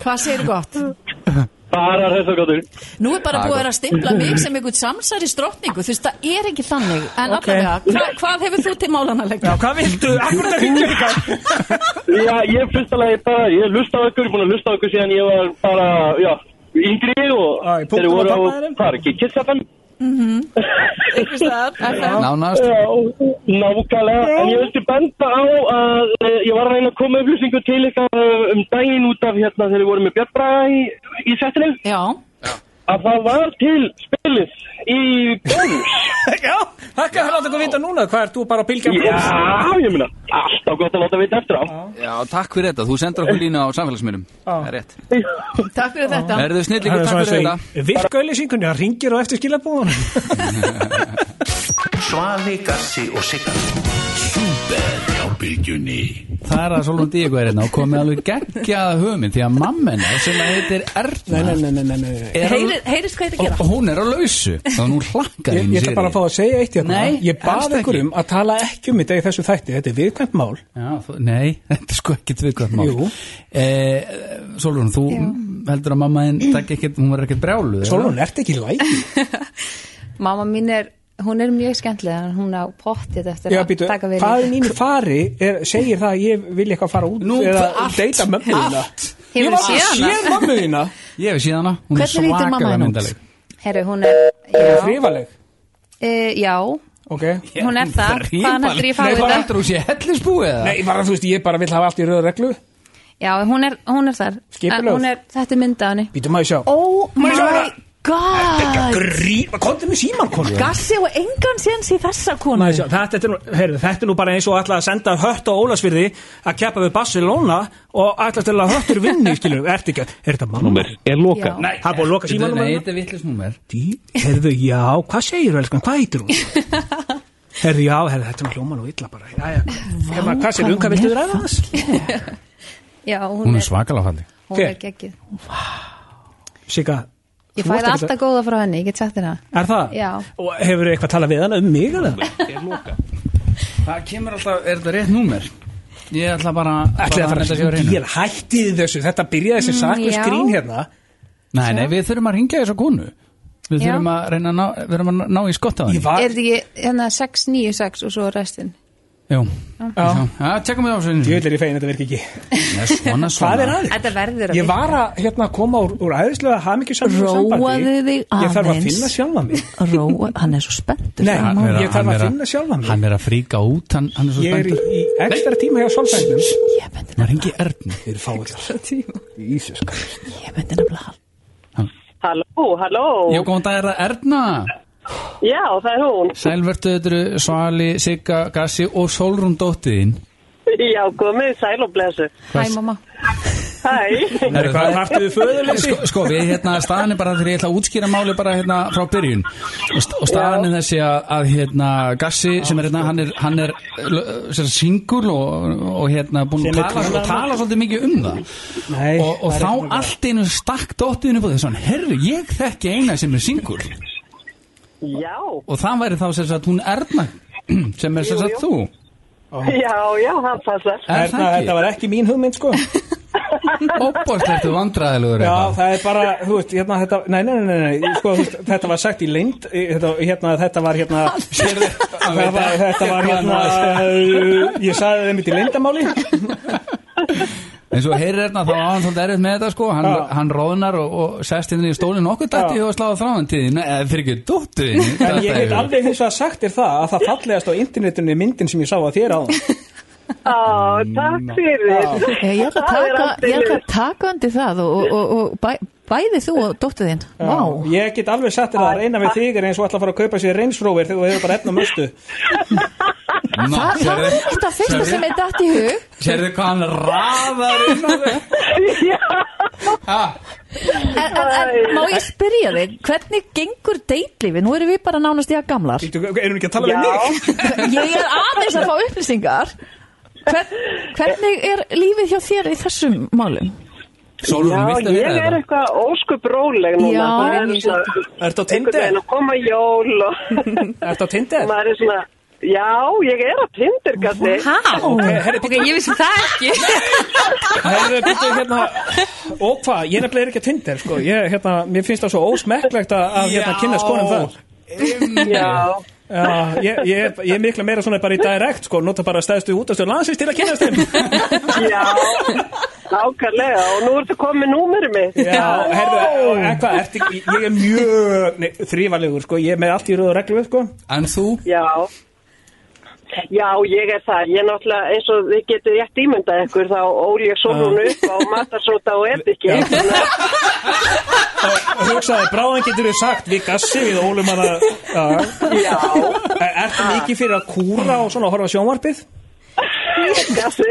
[SPEAKER 3] Hvað segir gott?
[SPEAKER 6] Bara þessu gotur
[SPEAKER 3] Nú er bara búið að vera að stimpla mig sem einhvern samsæri strótningu, þú veist, það er ekki þannig En
[SPEAKER 6] Ok.
[SPEAKER 3] allavega, hva, hvað hefur þú til málan að leggja? Já,
[SPEAKER 4] hvað viltu? Akkur það hringir ekki
[SPEAKER 6] [laughs] Já, ég fyrsta lagi bara, ég lusta á ykkur, búin að lusta á ykkur síðan ég var bara, já, yngri og
[SPEAKER 4] Æ, punktum á
[SPEAKER 6] voru á,
[SPEAKER 4] pabba þínum?
[SPEAKER 6] hvað er ekki, kissafan?
[SPEAKER 5] Mhm.
[SPEAKER 2] Nánast
[SPEAKER 6] Já, nákvæmlega, en ég vildi benda á að eh, ég var að reyna að koma upplýsingu til ykkar eh, um daginn út af hérna þegar við vorum með Björn Braga í, í settinu.
[SPEAKER 3] Já.
[SPEAKER 6] Að það var til spilið í bónus.
[SPEAKER 4] [laughs] Já, það er að láta okkur vita núna Hvað er þú bara að bylgja
[SPEAKER 6] Já, ég meina, alltaf gott að láta vita eftir á.
[SPEAKER 2] Já, takk fyrir þetta, þú sendur okkur lína á samfélagsmyndum Það er rétt
[SPEAKER 3] Takk fyrir þetta
[SPEAKER 2] Verðu snillingur, takk fyrir þetta.
[SPEAKER 4] Virkauðlýsingunni, það ringir á eftir skilabóðunum
[SPEAKER 1] Svali, Gassi og Sigga Súper á bylgjunni
[SPEAKER 2] Það er að Solon Díego er hérna og komið alveg geggjaða hugmynd því að mammen sem að heitir Erna
[SPEAKER 4] [laughs] Nei, nei, nei, nei, nei, nei.
[SPEAKER 2] er,
[SPEAKER 3] Heyri- Heyrist hvað þetta
[SPEAKER 2] og,
[SPEAKER 3] gera?
[SPEAKER 2] og hún er á lausu og hún hlakkar
[SPEAKER 4] Ég,
[SPEAKER 2] inn
[SPEAKER 4] ég ætla bara að fá að segja eitt hérna
[SPEAKER 2] Nei,
[SPEAKER 4] Ég
[SPEAKER 2] helst
[SPEAKER 4] bað
[SPEAKER 2] ekki.
[SPEAKER 4] ykkur um að tala ekki um þetta í þessu þætti Þetta er viðkvæmt mál
[SPEAKER 2] Já, þú, nei, [laughs] þetta er sko ekkert viðkvæmt mál
[SPEAKER 4] Jú.
[SPEAKER 2] eh, Solon, þú heldur að mamma þinn takk ekkert, hún var ekkert brjálu
[SPEAKER 4] Sólrún, ert ekki læk?
[SPEAKER 5] Mamma mín er, hún er mjög skemmtilega en hún á pottið eftir
[SPEAKER 4] Já,
[SPEAKER 5] að
[SPEAKER 4] býtu,
[SPEAKER 5] taka við
[SPEAKER 4] hvað er
[SPEAKER 5] í.
[SPEAKER 4] mínu fari er, segir það að ég vil eitthvað fara út
[SPEAKER 5] Nú,
[SPEAKER 4] eða
[SPEAKER 5] allt,
[SPEAKER 4] deyta mömmu þína
[SPEAKER 5] allt.
[SPEAKER 4] Ég
[SPEAKER 5] Hefurðu
[SPEAKER 4] var bara að
[SPEAKER 5] séð hana?
[SPEAKER 4] sé mömmu þína
[SPEAKER 2] [laughs] Ég hef síðan hana, hún
[SPEAKER 5] Hvernig lítur
[SPEAKER 2] er
[SPEAKER 5] mamma
[SPEAKER 2] svakalega
[SPEAKER 5] hennar út?
[SPEAKER 2] myndaleg
[SPEAKER 5] Herru, hún er,
[SPEAKER 4] Já. Hrifaleg
[SPEAKER 5] e, já,
[SPEAKER 4] Ok
[SPEAKER 5] Hún er það. Hrifaleg. Hvaðan
[SPEAKER 4] Nei, bara-
[SPEAKER 5] heldurðu ég fái þetta?
[SPEAKER 2] Heldur hún sé hellisbúið eða?
[SPEAKER 4] Nei, bara þú veist, ég bara vil hafa allt í röðu reglu
[SPEAKER 5] já, hún er, hún er þar.
[SPEAKER 4] Skipulögð.
[SPEAKER 5] En Hún er, þetta er mynd af henni.
[SPEAKER 4] Býtu maður sjá
[SPEAKER 5] Oh
[SPEAKER 4] Maður sjá hana.
[SPEAKER 3] God
[SPEAKER 4] Gríma, komdu með síman, komdu
[SPEAKER 3] Gassi og engan séns í þessa konu
[SPEAKER 4] Maður sjá, þetta, er nú, heyrðu, þetta er nú bara eins og ætla að senda hött á Ólasfyrði að keppa við Barcelona og ætla til að höttur vinni, skilur, ert ekki að, er þetta mamma? Númer,
[SPEAKER 6] er
[SPEAKER 4] lokað? Nei, það er búið að loka símanum
[SPEAKER 2] Nei,
[SPEAKER 4] hennar.
[SPEAKER 2] þetta er vittlust númer
[SPEAKER 4] Herðu, já, hvað segir þú, elskan, hvað heitir hún? Herðu, já, herðu, þetta er hljóman og illa bara. Jæja, hérna, hvað segir þú, hvað viltu ræða það?
[SPEAKER 5] [laughs] Já, hún,
[SPEAKER 2] Hún er svakalega falleg
[SPEAKER 5] Hún
[SPEAKER 4] Hver?
[SPEAKER 5] er geggið.
[SPEAKER 4] Sigga,
[SPEAKER 5] Ég
[SPEAKER 4] Þú
[SPEAKER 5] fæði
[SPEAKER 4] ert ekki
[SPEAKER 5] alltaf góða frá henni, ég get sagt þér það.
[SPEAKER 4] er það?
[SPEAKER 5] Já.
[SPEAKER 4] Og hefur þú eitthvað talað við hana um mig, alveg?
[SPEAKER 2] Það kemur alltaf, er þetta rétt númer? Ég ætla bara
[SPEAKER 4] Ætlaði
[SPEAKER 2] bara
[SPEAKER 4] að
[SPEAKER 2] að
[SPEAKER 4] fara
[SPEAKER 2] þetta sé á
[SPEAKER 4] að
[SPEAKER 2] hreinu.
[SPEAKER 4] hreinu Hættið þessu, þetta byrjaði þessi
[SPEAKER 2] Mm,
[SPEAKER 4] saklaus
[SPEAKER 2] já.
[SPEAKER 4] grín hérna
[SPEAKER 2] Nei, nei, við þurfum að ringja þessa konu Við
[SPEAKER 5] Já.
[SPEAKER 2] þurfum að reyna að ná, við þurfum að ná í skott á henni
[SPEAKER 5] Er þetta ekki, hérna, 696 og svo restin.
[SPEAKER 2] Jú,
[SPEAKER 4] Já,
[SPEAKER 2] já tjekkum við á svo Ég
[SPEAKER 4] vil er í fegin, þetta virki ekki
[SPEAKER 2] Mm. Nei, svona, svona
[SPEAKER 4] [laughs] Hvað er aðeins?
[SPEAKER 5] Þetta verður að
[SPEAKER 4] Ég var að hérna, koma úr, úr æðislega hamingjusam
[SPEAKER 3] Róaðu þig
[SPEAKER 4] Ég þarf að
[SPEAKER 3] aðeins.
[SPEAKER 4] finna sjálfa mig
[SPEAKER 3] Róa, hann er svo spenntur
[SPEAKER 4] Nei,
[SPEAKER 2] Hann er að-
[SPEAKER 4] ég þarf
[SPEAKER 2] hann
[SPEAKER 4] að
[SPEAKER 2] er að-
[SPEAKER 4] finna sjálfa mig
[SPEAKER 2] Hann er að fríka út, hann, hann er svo
[SPEAKER 4] Ég er í,
[SPEAKER 2] spenntur
[SPEAKER 4] í ekstra tíma hjá sálfræðinum
[SPEAKER 2] Maður ringi Ernu
[SPEAKER 4] Þeir fá ekki Jesus Christ
[SPEAKER 18] Halló, halló.
[SPEAKER 2] Jó, góðan dag, er það Erna?
[SPEAKER 18] Já, það er hún.
[SPEAKER 2] Sælvertu, þetta eru Svali, Sigga, Gassi og Solrún dóttiðin
[SPEAKER 5] Já, komið, sæl og blessu.
[SPEAKER 17] Hæ, mamma.
[SPEAKER 5] Hæ.
[SPEAKER 2] Sko, sko við hérna staðan er bara þegar ég ætla að útskýra máli bara hérna frá byrjun og, st og staðan er þessi að, að hérna Gassi sem er hérna hann er, hann er l- sem sagt, singul og, og hérna búin
[SPEAKER 19] Sem er
[SPEAKER 2] að tala,
[SPEAKER 19] trúnaðarmaður.
[SPEAKER 2] og tala svolítið mikið um það Nei, og, og
[SPEAKER 19] það er
[SPEAKER 2] þá
[SPEAKER 19] ekki
[SPEAKER 2] allt í einu stakk dóttiðinu búið þessan herru ég þekki eina sem er singul
[SPEAKER 5] Já,
[SPEAKER 2] og það væri þá sem sagt hún Erna [clears throat] sem er sem sagt þú
[SPEAKER 5] já, já, það passar.
[SPEAKER 4] Erna, þetta var ekki mín hugmynd
[SPEAKER 3] [laughs]
[SPEAKER 4] sko
[SPEAKER 2] Óbáslertu vandræðilegur
[SPEAKER 4] Já, það er bara, þú veist, hérna þetta Nei, nei, nei, nei, nei sko, þú veist, þetta var sagt í leynd í- Þetta, hérna, þetta var hérna Sérðu,
[SPEAKER 2] veit
[SPEAKER 4] var,
[SPEAKER 2] ekki
[SPEAKER 4] [laughs] Þetta var
[SPEAKER 2] hvað
[SPEAKER 4] hérna
[SPEAKER 2] hann
[SPEAKER 4] uh, Ég sagði þeim mitt í leyndamáli
[SPEAKER 2] En svo heyrir hérna þá á hann svolítið erfitt með þetta sko Hann,
[SPEAKER 4] Já.
[SPEAKER 2] hann róðnar og, og sest inn í stólinn Okkur dætti ég að slá þráðan tíðin Eða fyrir ekki dóttuðin
[SPEAKER 4] En ég get alveg hins vegar sagt þér það að það fallegast á internetinu er myndin sem ég sá að þér á
[SPEAKER 5] Ó, takk
[SPEAKER 4] Mm.
[SPEAKER 5] fyrir.
[SPEAKER 3] Ég ég ætla að
[SPEAKER 5] Það er
[SPEAKER 3] taka,
[SPEAKER 5] allt í
[SPEAKER 3] ég ætla
[SPEAKER 5] lagi.
[SPEAKER 3] að taka undir það og, og, og, og bæ, bæði þú og dóttu þinn. Vá.
[SPEAKER 4] Ég get alveg sagt þér það að reyna við þig er eins og ætla að fara að kaupa sér reynsróver þegar þú hefur bara efna möstu
[SPEAKER 3] Það, það er þetta fyrsta sem er dætt í hug.
[SPEAKER 2] Sérðu hvað hann raðar inn á
[SPEAKER 5] [laughs]
[SPEAKER 3] En, en, en má ég spyrja þig, hvernig gengur deitlífi? Nú erum við bara nánast í að gamlar.
[SPEAKER 4] Erum við ekki að
[SPEAKER 3] tala við mig? [laughs] Ég er aðeins að fá upplýsingar. Hvern, hvernig er lífið hjá þér í þessum málum?
[SPEAKER 2] Sólur,
[SPEAKER 5] Já,
[SPEAKER 3] viltu
[SPEAKER 5] ég
[SPEAKER 3] vera
[SPEAKER 5] er
[SPEAKER 3] þetta?
[SPEAKER 5] eitthvað óskup róleg
[SPEAKER 3] Já.
[SPEAKER 5] núna. Það er svona-
[SPEAKER 4] Ertu á
[SPEAKER 5] einhvern
[SPEAKER 4] Tinder?
[SPEAKER 5] veginn að koma jól og...
[SPEAKER 4] [laughs] Ertu á Tinder?
[SPEAKER 5] Maður er svona, já, ég er á Tinder, gæti.
[SPEAKER 17] ok, ég vissi það ekki.
[SPEAKER 4] Herðu, býttu, hérna, og hvað, ég nefnilega er ekki að Tinder sko. ég, hérna, mér finnst það svo ósmekklegt að að, hérna,
[SPEAKER 2] Já.
[SPEAKER 4] kynna skonum það [laughs] Já, ég, ég, ég er mikla meira svona bara í direkt sko, nota bara stæðstu útastöð landsins til að kynast þeim
[SPEAKER 5] Já, ákvæmlega. Og nú ertu komið númerið mitt.
[SPEAKER 4] Já, herðu, en hvað, ertu, ekki- ég er mjög nei, þrývalegur, sko, ég er með allt í röðu reglu, sko
[SPEAKER 2] En þú?
[SPEAKER 5] Já. Já, ég er það. Ég náttúrulega, eins og þið getur rétt ímyndað ykkur, þá ól ég sólun upp á matarsóta og eddiki.
[SPEAKER 4] Og hugsaði, bráðan getur við sagt, við gassi, við ólum hana Já,
[SPEAKER 5] Já.
[SPEAKER 4] Er- Ertu mikið fyrir að kúra og svona að horfa á sjónvarpið?
[SPEAKER 5] Gassi.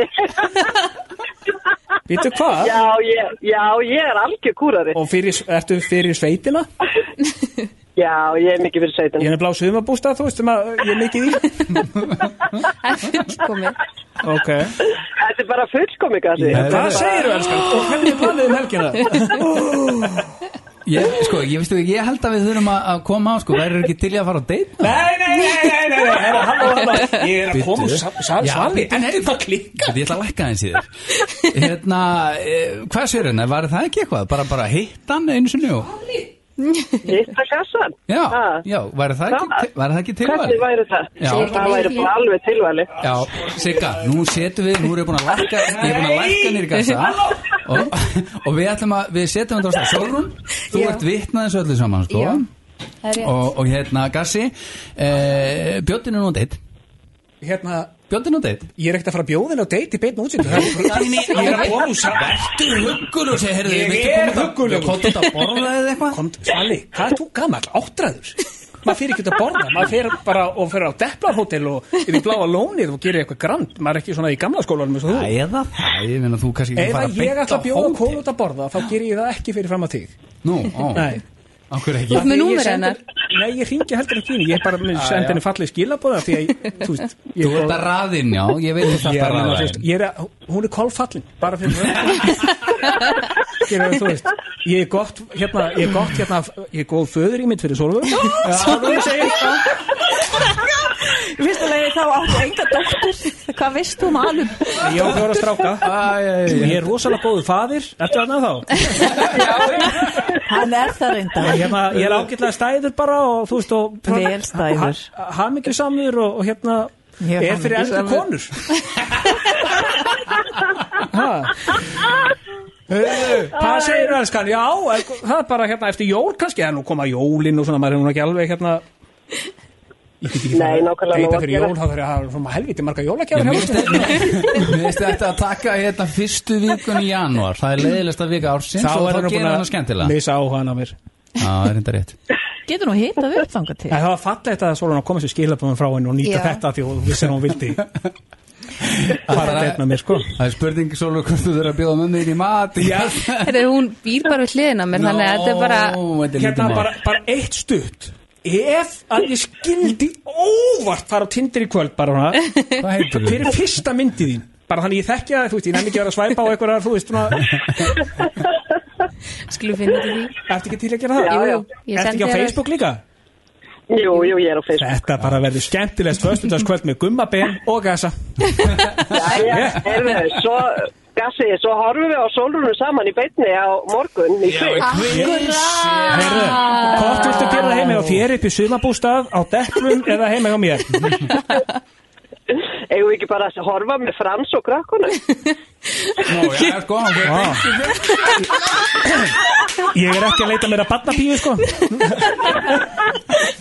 [SPEAKER 4] Vittu hvað?
[SPEAKER 5] Já, ég, já, ég er algjör kúrari.
[SPEAKER 4] Og fyrir, ertu fyrir sveitina?
[SPEAKER 5] Já, ég er mikið fyrir sveitina.
[SPEAKER 4] Ég er blá sumabústað, þú veist, sem að ég er mikið í. Ok.
[SPEAKER 5] Þetta er bara fullkomi, Gassi.
[SPEAKER 4] En Hvað segirðu, elskan? Og hvernig er planið um helgina?
[SPEAKER 2] ég, Sko, ég veistu, ég held að við þurfum að, að koma á Sko, væri ekki til í að fara á date
[SPEAKER 4] Nei, nei, nei, nei, nei, nei, herra, halló, halló, ég er að koma úr sal- sal-
[SPEAKER 2] Já,
[SPEAKER 4] sali,
[SPEAKER 2] bíddu,
[SPEAKER 4] en er það klikka?
[SPEAKER 2] Ég ætla að lækka hans í þér [laughs] Hérna, e, hvað sér hérna, var það ekki eitthvað? Bara, bara hitt hann einu sinni og
[SPEAKER 5] Hitta kassan?
[SPEAKER 2] Já,
[SPEAKER 5] Ha.
[SPEAKER 2] já, var það ekki, var það ekki tilværi?
[SPEAKER 5] Hvernig væri það?
[SPEAKER 2] Já.
[SPEAKER 5] Það væri bara alveg tilvæli.
[SPEAKER 2] Já, Sigga, nú setjum við, nú erum við búin að lækka, ég er búin að lækka nýr gassa og, og við ætlum að, við setjum þetta á stað. Sólrún, þú
[SPEAKER 17] Já.
[SPEAKER 2] ert vitnað þessu öllu saman, sko.
[SPEAKER 17] Já, það er rétt.
[SPEAKER 2] Og, og hérna, Gassi, e, bjóttinu nú deitt.
[SPEAKER 4] Hérna,
[SPEAKER 2] Bjóttinu nú deitt.
[SPEAKER 4] Ég er ekkert að fara að bjóða þinn á date í beinu útsýttu Ég er að koma úr sal
[SPEAKER 2] Vertu huggur og segja, heyrðu,
[SPEAKER 4] Ég
[SPEAKER 2] viltu
[SPEAKER 4] er
[SPEAKER 2] koma þá?
[SPEAKER 4] huggulegur.
[SPEAKER 2] Komdu út að borða eða eitthvað?
[SPEAKER 4] Komdu, Svali, hvað er þú gammal? Áttræður Maður fyrir ekki út að borða, maður fyrir bara og fyrir á Deplarhótel og yfir í bláa lónið og gerir eitthvað grand, maður er ekki svona í gamla skólanum eins og þú
[SPEAKER 2] Eða það, ég meina þú kannski ekki
[SPEAKER 4] Ef
[SPEAKER 2] fara
[SPEAKER 4] að ég
[SPEAKER 2] að beint
[SPEAKER 4] ætla
[SPEAKER 2] á
[SPEAKER 4] að bjóða
[SPEAKER 2] hótel.
[SPEAKER 4] konu út að borða þá gerir ég það ekki fyrir fram að þig
[SPEAKER 2] Nú, á.
[SPEAKER 4] Nei.
[SPEAKER 2] Akkur
[SPEAKER 4] Af
[SPEAKER 2] ekki.
[SPEAKER 4] því
[SPEAKER 17] með
[SPEAKER 4] ég
[SPEAKER 17] númerið
[SPEAKER 4] sendi-
[SPEAKER 17] hennar?
[SPEAKER 4] Nei, ég ringi heldur ekki inn, ég bara mun
[SPEAKER 2] Ah, já.
[SPEAKER 4] senda henni fallið skilabóða því að, ég- þú veist ég-
[SPEAKER 2] Þú ert að raðinn, já, ég veit þetta
[SPEAKER 4] Ég er, að,
[SPEAKER 2] að
[SPEAKER 4] þú
[SPEAKER 2] raðinn.
[SPEAKER 4] veist, ég er að, hún er kolfallin bara fyrir Gerið, þú veist, ég er gott hérna, ég er gott hérna ég er góð föður í mitt fyrir Solveig [laughs] Já, Solveig segir
[SPEAKER 3] Í fyrsta lagi þá áttu enga dóttur. Hvað veist þú um alum?
[SPEAKER 4] ég á fjóra stráka ég er rosalega góðu faðir eftir þarna þá
[SPEAKER 3] Hann er það reynda.
[SPEAKER 4] Og hérna, ég er ágætlega stæður bara og þú veist og
[SPEAKER 3] Vel stæður.
[SPEAKER 4] hamingju samur og, og hérna
[SPEAKER 3] Mjög
[SPEAKER 4] er fyrir eldri
[SPEAKER 3] hamingjusamur.
[SPEAKER 4] konur Ha? Heyrðu, Hvað segir þú elskan? Já, er- það er bara hérna eftir jól kannski en nú koma jólin og svona, maður er nú ekki alveg hérna Ég get ekki
[SPEAKER 5] Nei,
[SPEAKER 4] fara að
[SPEAKER 5] nákvæmlega nóg
[SPEAKER 4] deyta
[SPEAKER 5] að
[SPEAKER 4] fyrir
[SPEAKER 5] gera.
[SPEAKER 4] jól, þá þarf ég að hafa svona helviti marga
[SPEAKER 2] Já,
[SPEAKER 4] jólagjafir hérna.
[SPEAKER 2] mér
[SPEAKER 4] hjá
[SPEAKER 2] finnst
[SPEAKER 4] mér.
[SPEAKER 2] Mér finnst þetta að taka hérna fyrstu vikun í janúar Það er leiðilegsta vika ársins
[SPEAKER 4] Þá er
[SPEAKER 2] og þá
[SPEAKER 4] hann
[SPEAKER 2] gerir
[SPEAKER 4] búin
[SPEAKER 2] hann það
[SPEAKER 4] að
[SPEAKER 2] skemmtilega Já,
[SPEAKER 4] missa áhugaðan á mér
[SPEAKER 2] það er þetta rétt
[SPEAKER 3] Getur nú hitað upp þangað til.
[SPEAKER 4] En það var fallegt að Solon að koma sér skilabóðum frá henni og nýta
[SPEAKER 3] Já.
[SPEAKER 4] [laughs] þetta því að hún vissi að hún vildi bara reyna mér sko
[SPEAKER 2] Það er spurning svolítið hvort þú þurfa að bjóða með mér í mat Já,
[SPEAKER 20] Þetta er hún býr bara við hliðina á mér þannig að þetta er bara
[SPEAKER 4] hérna bara, bara eitt stutt ef að ég skildi óvart fara á Tinder í kvöld bara hana
[SPEAKER 2] [laughs] Hvað heitir
[SPEAKER 4] hver er fyrsta myndið þín bara þannig ég þekki það, þú veist, ég nefn ekki að vera að svæpa á einhverjar, þú veist,
[SPEAKER 20] [laughs]
[SPEAKER 4] svona
[SPEAKER 20] Skulum finna til því
[SPEAKER 4] Ertu ekki til að gera það?
[SPEAKER 20] Jú, jú, ég
[SPEAKER 4] Ertu
[SPEAKER 20] sendi
[SPEAKER 4] ekki á
[SPEAKER 20] þér-
[SPEAKER 4] Facebook líka?
[SPEAKER 21] Jú, jú, ég er á Facebook
[SPEAKER 4] Þetta bara verður skemmtilegst föstudagskvöld með gummaben og gasa
[SPEAKER 21] Heyrðu, svo, Gassi, svo horfum við á sólunum saman í beinni á morgun í kvöld.
[SPEAKER 4] Heyrðu, hvort viltu gera það heima á þér upp í sumabústað, á deklum eða heima hjá mér?
[SPEAKER 21] Eigum við ekki bara að horfa með frans og krakkuna?
[SPEAKER 2] já, sko
[SPEAKER 4] Vá. Ég er ekki að leita mér að barnabíu sko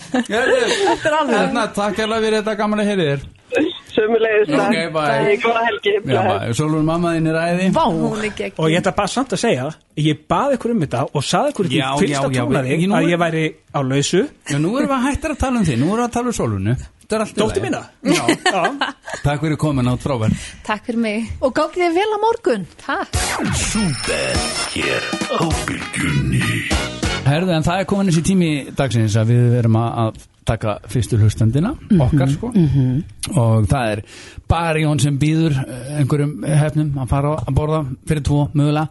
[SPEAKER 2] Þetta er alveg Þarna, Hérna, takk alveg fyrir þetta gaman að heyri þér
[SPEAKER 21] Sumulegist
[SPEAKER 2] Ok, bye.
[SPEAKER 21] Góða helgi.
[SPEAKER 2] Já, bara, Sólun mamma þín er æði
[SPEAKER 21] Vá.
[SPEAKER 4] Og ég ætla bara samt að segja Ég baði ykkur um þetta og saði ykkur ekki
[SPEAKER 2] Já,
[SPEAKER 4] fyrsta
[SPEAKER 2] já, já,
[SPEAKER 4] tónaði
[SPEAKER 2] ég- nú
[SPEAKER 4] að
[SPEAKER 2] er-
[SPEAKER 4] ég væri á lausu
[SPEAKER 2] Já, nú erum við hættir að tala um þig, nú erum við að tala um Sólunu Þetta er allt í
[SPEAKER 4] Dóttir
[SPEAKER 2] lagi.
[SPEAKER 4] mína?
[SPEAKER 2] Já, takk fyrir komin átt frábær
[SPEAKER 20] Takk fyrir mig
[SPEAKER 3] Og gangi þið vel á morgun
[SPEAKER 20] Takk
[SPEAKER 1] Súper hér á Bylgjunni
[SPEAKER 2] Herðu, en það er komin þessi tími dagsins að við erum að- að taka fyrstu hlustendina,
[SPEAKER 3] Mhm,
[SPEAKER 2] okkar sko og það er bara Jón sem býður eh, einhverjum hefnum að fara að borða fyrir tvo mögulega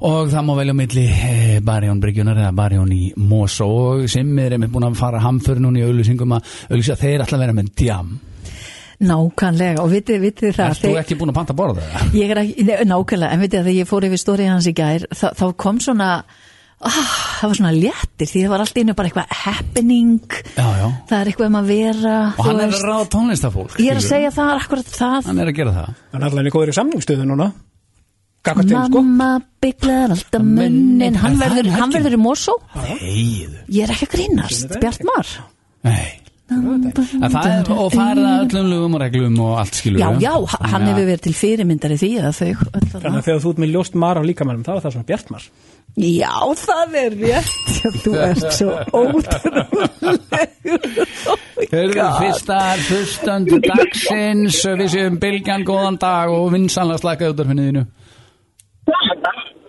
[SPEAKER 2] og það má velja á milli eh, Barjón Bryggjunar eða Barjón í Mosó og sem er einmitt búin að fara hamför núna í auðlýsingum að auðlýsa þeir alltaf vera með djam
[SPEAKER 3] Nákvæmlega, og vitið, vitið það
[SPEAKER 2] Erst þú ekki búin að panta að borða það?
[SPEAKER 3] Ég er ekki, nei, nákvæmlega, en veitir að þegar ég fór yfir stórið hans í gær, þá, þá kom svona, ah, það var svona léttir því það var allt í einu bara eitthvað happening,
[SPEAKER 2] Já, já
[SPEAKER 3] það er eitthvað um að vera,
[SPEAKER 2] Og hann er að ráða tónlistafólk
[SPEAKER 3] Ég er að
[SPEAKER 2] skilurðu.
[SPEAKER 3] segja það, er akkurat það,
[SPEAKER 2] Hann er að gera það
[SPEAKER 4] Hann er allavega góður í samningstöðu núna Gakvært til sko
[SPEAKER 3] mamma bygglar alltaf munnin, hann
[SPEAKER 4] Er það
[SPEAKER 3] verður,
[SPEAKER 4] um
[SPEAKER 3] hann verður í morsó,
[SPEAKER 2] Heiðu
[SPEAKER 3] ég er ekki að grínast, Bjartmar.
[SPEAKER 2] En það er, og það er það öllum lögum og reglum og allt skilur
[SPEAKER 3] Já, já, hann hefur verið til fyrirmyndari því að þau öll þarna.
[SPEAKER 4] Þannig að þegar þú ert með ljóst mar á líkamælum þá er það svona bjartmar
[SPEAKER 3] Já, það er rétt Þú ert svo
[SPEAKER 2] Hörðu, fyrsta hlustöndu dagsins Við séum Bilgjan, góðan dag og vinsanlega slakaði út af henniðinu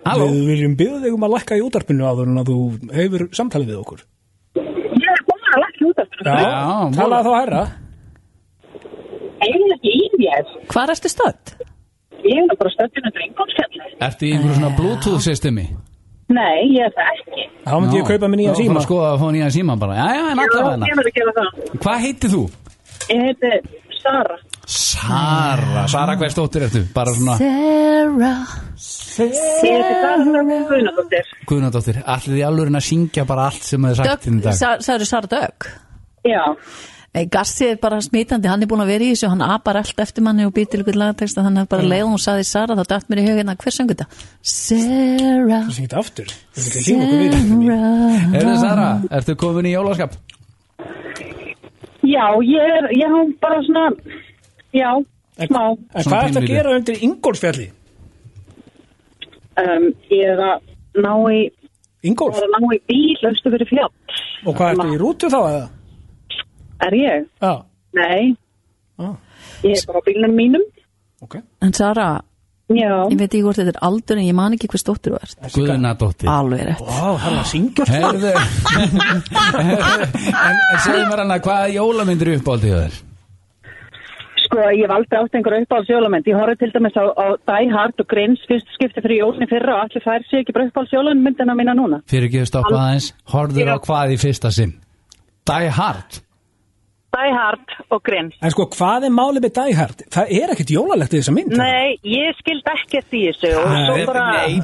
[SPEAKER 2] [laughs] Halló
[SPEAKER 4] Við viljum byggja þig um að lækka í útarpinu áður en að þú hefur samtalið við okkur
[SPEAKER 5] Ég er bara að lakka út af
[SPEAKER 4] Já, talaði þá herra
[SPEAKER 5] Eða ekki í mér.
[SPEAKER 3] Hvar ertu stödd?
[SPEAKER 5] Ég er nú
[SPEAKER 21] hérna.
[SPEAKER 5] bara stöddinu drengonsfjallu.
[SPEAKER 2] Ertu í einhverju svona bluetooth systemi?
[SPEAKER 5] Nei, ég er það ekki.
[SPEAKER 4] Þá myndi ég kaupa mér nýjan
[SPEAKER 2] Þá
[SPEAKER 4] síma
[SPEAKER 2] bara skoða að fá nýjan síma bara Já, já, en alltaf
[SPEAKER 3] hérna.
[SPEAKER 5] Ég
[SPEAKER 2] hennar
[SPEAKER 5] verður að gera það.
[SPEAKER 2] Hvað heitir þú?
[SPEAKER 5] Ég heiti Sara.
[SPEAKER 2] Sara, Sara hverstóttir ertu? Bara svona
[SPEAKER 3] Sarah
[SPEAKER 5] Ég heiti Sara Guðnadóttir.
[SPEAKER 2] Guðnadóttir, allir því alveg að syngja bara allt sem þið sagt þinn í dag
[SPEAKER 3] Særu Sara Dögg
[SPEAKER 5] Já.
[SPEAKER 3] Nei, Gassi er bara smítandi, hann er búin að vera í þessu hann apar allt eftir manni og býr til ykkur lagateksta þannig að bara leið og hún saði Sara þá dætt mér í hugina hver söngu þetta? Sarah
[SPEAKER 4] Það syngið aftur Við viljum lífa okkur við
[SPEAKER 2] Erðu
[SPEAKER 3] Sarah
[SPEAKER 2] Sara, ertu komin í jólaskap?
[SPEAKER 5] Já, ég er, ég er bara svona, já, smá.
[SPEAKER 4] En hvað ertu að
[SPEAKER 2] pínlítið.
[SPEAKER 4] gera undir Ingólfsfjalli?
[SPEAKER 5] Um, ég er að ná í,
[SPEAKER 4] Ingólf?
[SPEAKER 5] Ég er að ná í bíl, austu fyrir fjall. Hérna.
[SPEAKER 4] Og hvað ertu í rútu þá eða?
[SPEAKER 5] Er ég?
[SPEAKER 4] Já
[SPEAKER 5] Nei.
[SPEAKER 4] Ah.
[SPEAKER 5] Ég er bara á bílnum mínum.
[SPEAKER 3] En Sara,
[SPEAKER 5] Já.
[SPEAKER 3] ég veit ekki hvort þetta er aldur en ég man ekki hvers dóttir þú ert
[SPEAKER 2] Guðnadóttir
[SPEAKER 3] Alveg rétt
[SPEAKER 4] Vá, það er að syngja
[SPEAKER 2] Herðu [laughs] En, en segðu mér hana, hvaða jólamyndir er uppáldið þér?
[SPEAKER 5] Sko, ég hef aldrei átt einhver uppáhalds jólamynd. Ég horfði til dæmis á, á Die Hard og Grins fyrst skipti fyrir jólni fyrra og allir þær sé ekki bara uppáhalds jólamyndina mína núna.
[SPEAKER 2] Fyrir ekki að stoppa
[SPEAKER 5] Al-
[SPEAKER 2] aðeins, horfður á hvað í fyrsta sinn? Die Hard
[SPEAKER 5] Die Hard og Grins.
[SPEAKER 4] En sko, hvað er málið með Die Hard? Það er ekkert jólalegt í þessa mynd
[SPEAKER 5] Nei, ég skild ekkert í þessu og
[SPEAKER 4] Ah,
[SPEAKER 5] svo bara...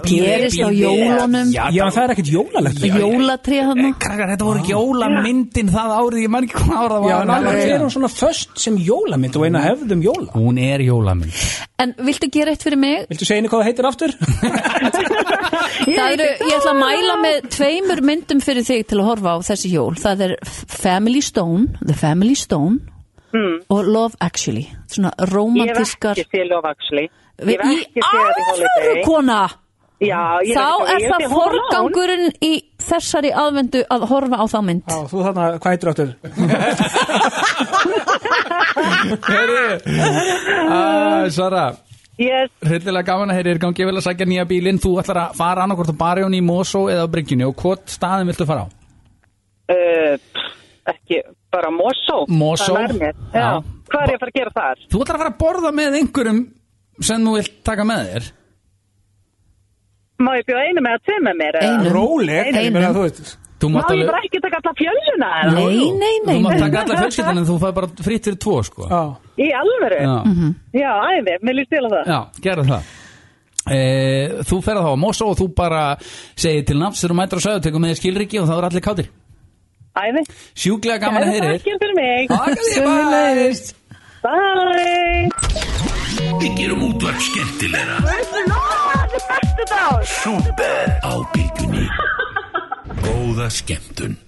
[SPEAKER 3] Gerist á jólunum
[SPEAKER 4] Já, já það er ekkert jólalegt í þessu.
[SPEAKER 3] Jólatrið hann
[SPEAKER 2] Eh, Krakkar, þetta voru jólamyndin það árið, ég man ekki hvað ára
[SPEAKER 4] Já,
[SPEAKER 2] það
[SPEAKER 4] en
[SPEAKER 2] var
[SPEAKER 4] alveg er hún svona föst sem jólamynd og eina hefðum jóla
[SPEAKER 2] Hún er jólamynd
[SPEAKER 3] En viltu gera eitt fyrir mig?
[SPEAKER 4] Viltu segja henni hvað það heitir aftur?
[SPEAKER 3] Það eru, ég ætla að mæla með tveimur myndum fyrir þig til að horfa á þessi jól. Það er Family Stone, The Family Stone og Love Actually. Svona
[SPEAKER 5] Hmm. Ég hef
[SPEAKER 3] romantískar...
[SPEAKER 5] ekki séð lofaksli.
[SPEAKER 3] Við-
[SPEAKER 5] Ég hef
[SPEAKER 3] í
[SPEAKER 5] ekki séð því holiday.
[SPEAKER 3] alvöru, kona!
[SPEAKER 5] Já, ég hef
[SPEAKER 3] Þá
[SPEAKER 5] ekki-
[SPEAKER 3] er
[SPEAKER 5] ég hef
[SPEAKER 3] það
[SPEAKER 5] séð Home Alone.
[SPEAKER 3] forgangurinn í þessari aðvendu að horfa á þá mynd
[SPEAKER 22] Já, þú þarna, hvað heitir áttur?
[SPEAKER 2] [laughs] Æ, Ah, Sara
[SPEAKER 5] Yes
[SPEAKER 2] Hryllilega gaman að heyri er gangi vel að sækja nýja bílinn Þú ætlar að fara annarkvort á barjón í Mosó eða á bryggjunni og hvort staðin viltu fara á?
[SPEAKER 5] uh, ekki, bara Mosó
[SPEAKER 2] Mosó.
[SPEAKER 5] Það nær mér. Já.
[SPEAKER 2] Já.
[SPEAKER 5] Hvað er ég að fara að gera þar?
[SPEAKER 2] Þú ætlar að fara að borða með einhverjum sem þú vilt taka með þér
[SPEAKER 5] Má ég bjóða einu með að tvei með mér? eða?
[SPEAKER 22] meina, þú veist
[SPEAKER 2] Þú
[SPEAKER 5] Má
[SPEAKER 2] mátt
[SPEAKER 5] ég
[SPEAKER 2] alveg
[SPEAKER 5] bara ekki taka alla fjöluna? eða?
[SPEAKER 2] Þú mátt taka alla fjölskyldan en þú fæði bara fritt fyrir tvo sko Já,
[SPEAKER 5] Í alvöru?
[SPEAKER 2] Já. Mhm.
[SPEAKER 5] Já, æði, mér líst til að það
[SPEAKER 2] gerðu það Eh, þú ferð þá á Mosó og þú bara segir til nafns þegar þú mætir á sögðu, tekur með þér skilriki og þá er allir kátir
[SPEAKER 5] Æði
[SPEAKER 2] Sjúklega gaman að heyri
[SPEAKER 5] Takk fyrir mig
[SPEAKER 2] Takk
[SPEAKER 1] fyrir mig. Sömuleiðis.
[SPEAKER 5] Bye
[SPEAKER 1] Við gerum útvarp skemmtilegra
[SPEAKER 5] Veistu, Lóa, þetta er bestu dag
[SPEAKER 1] Súper á bylgjunni Góða skemmtun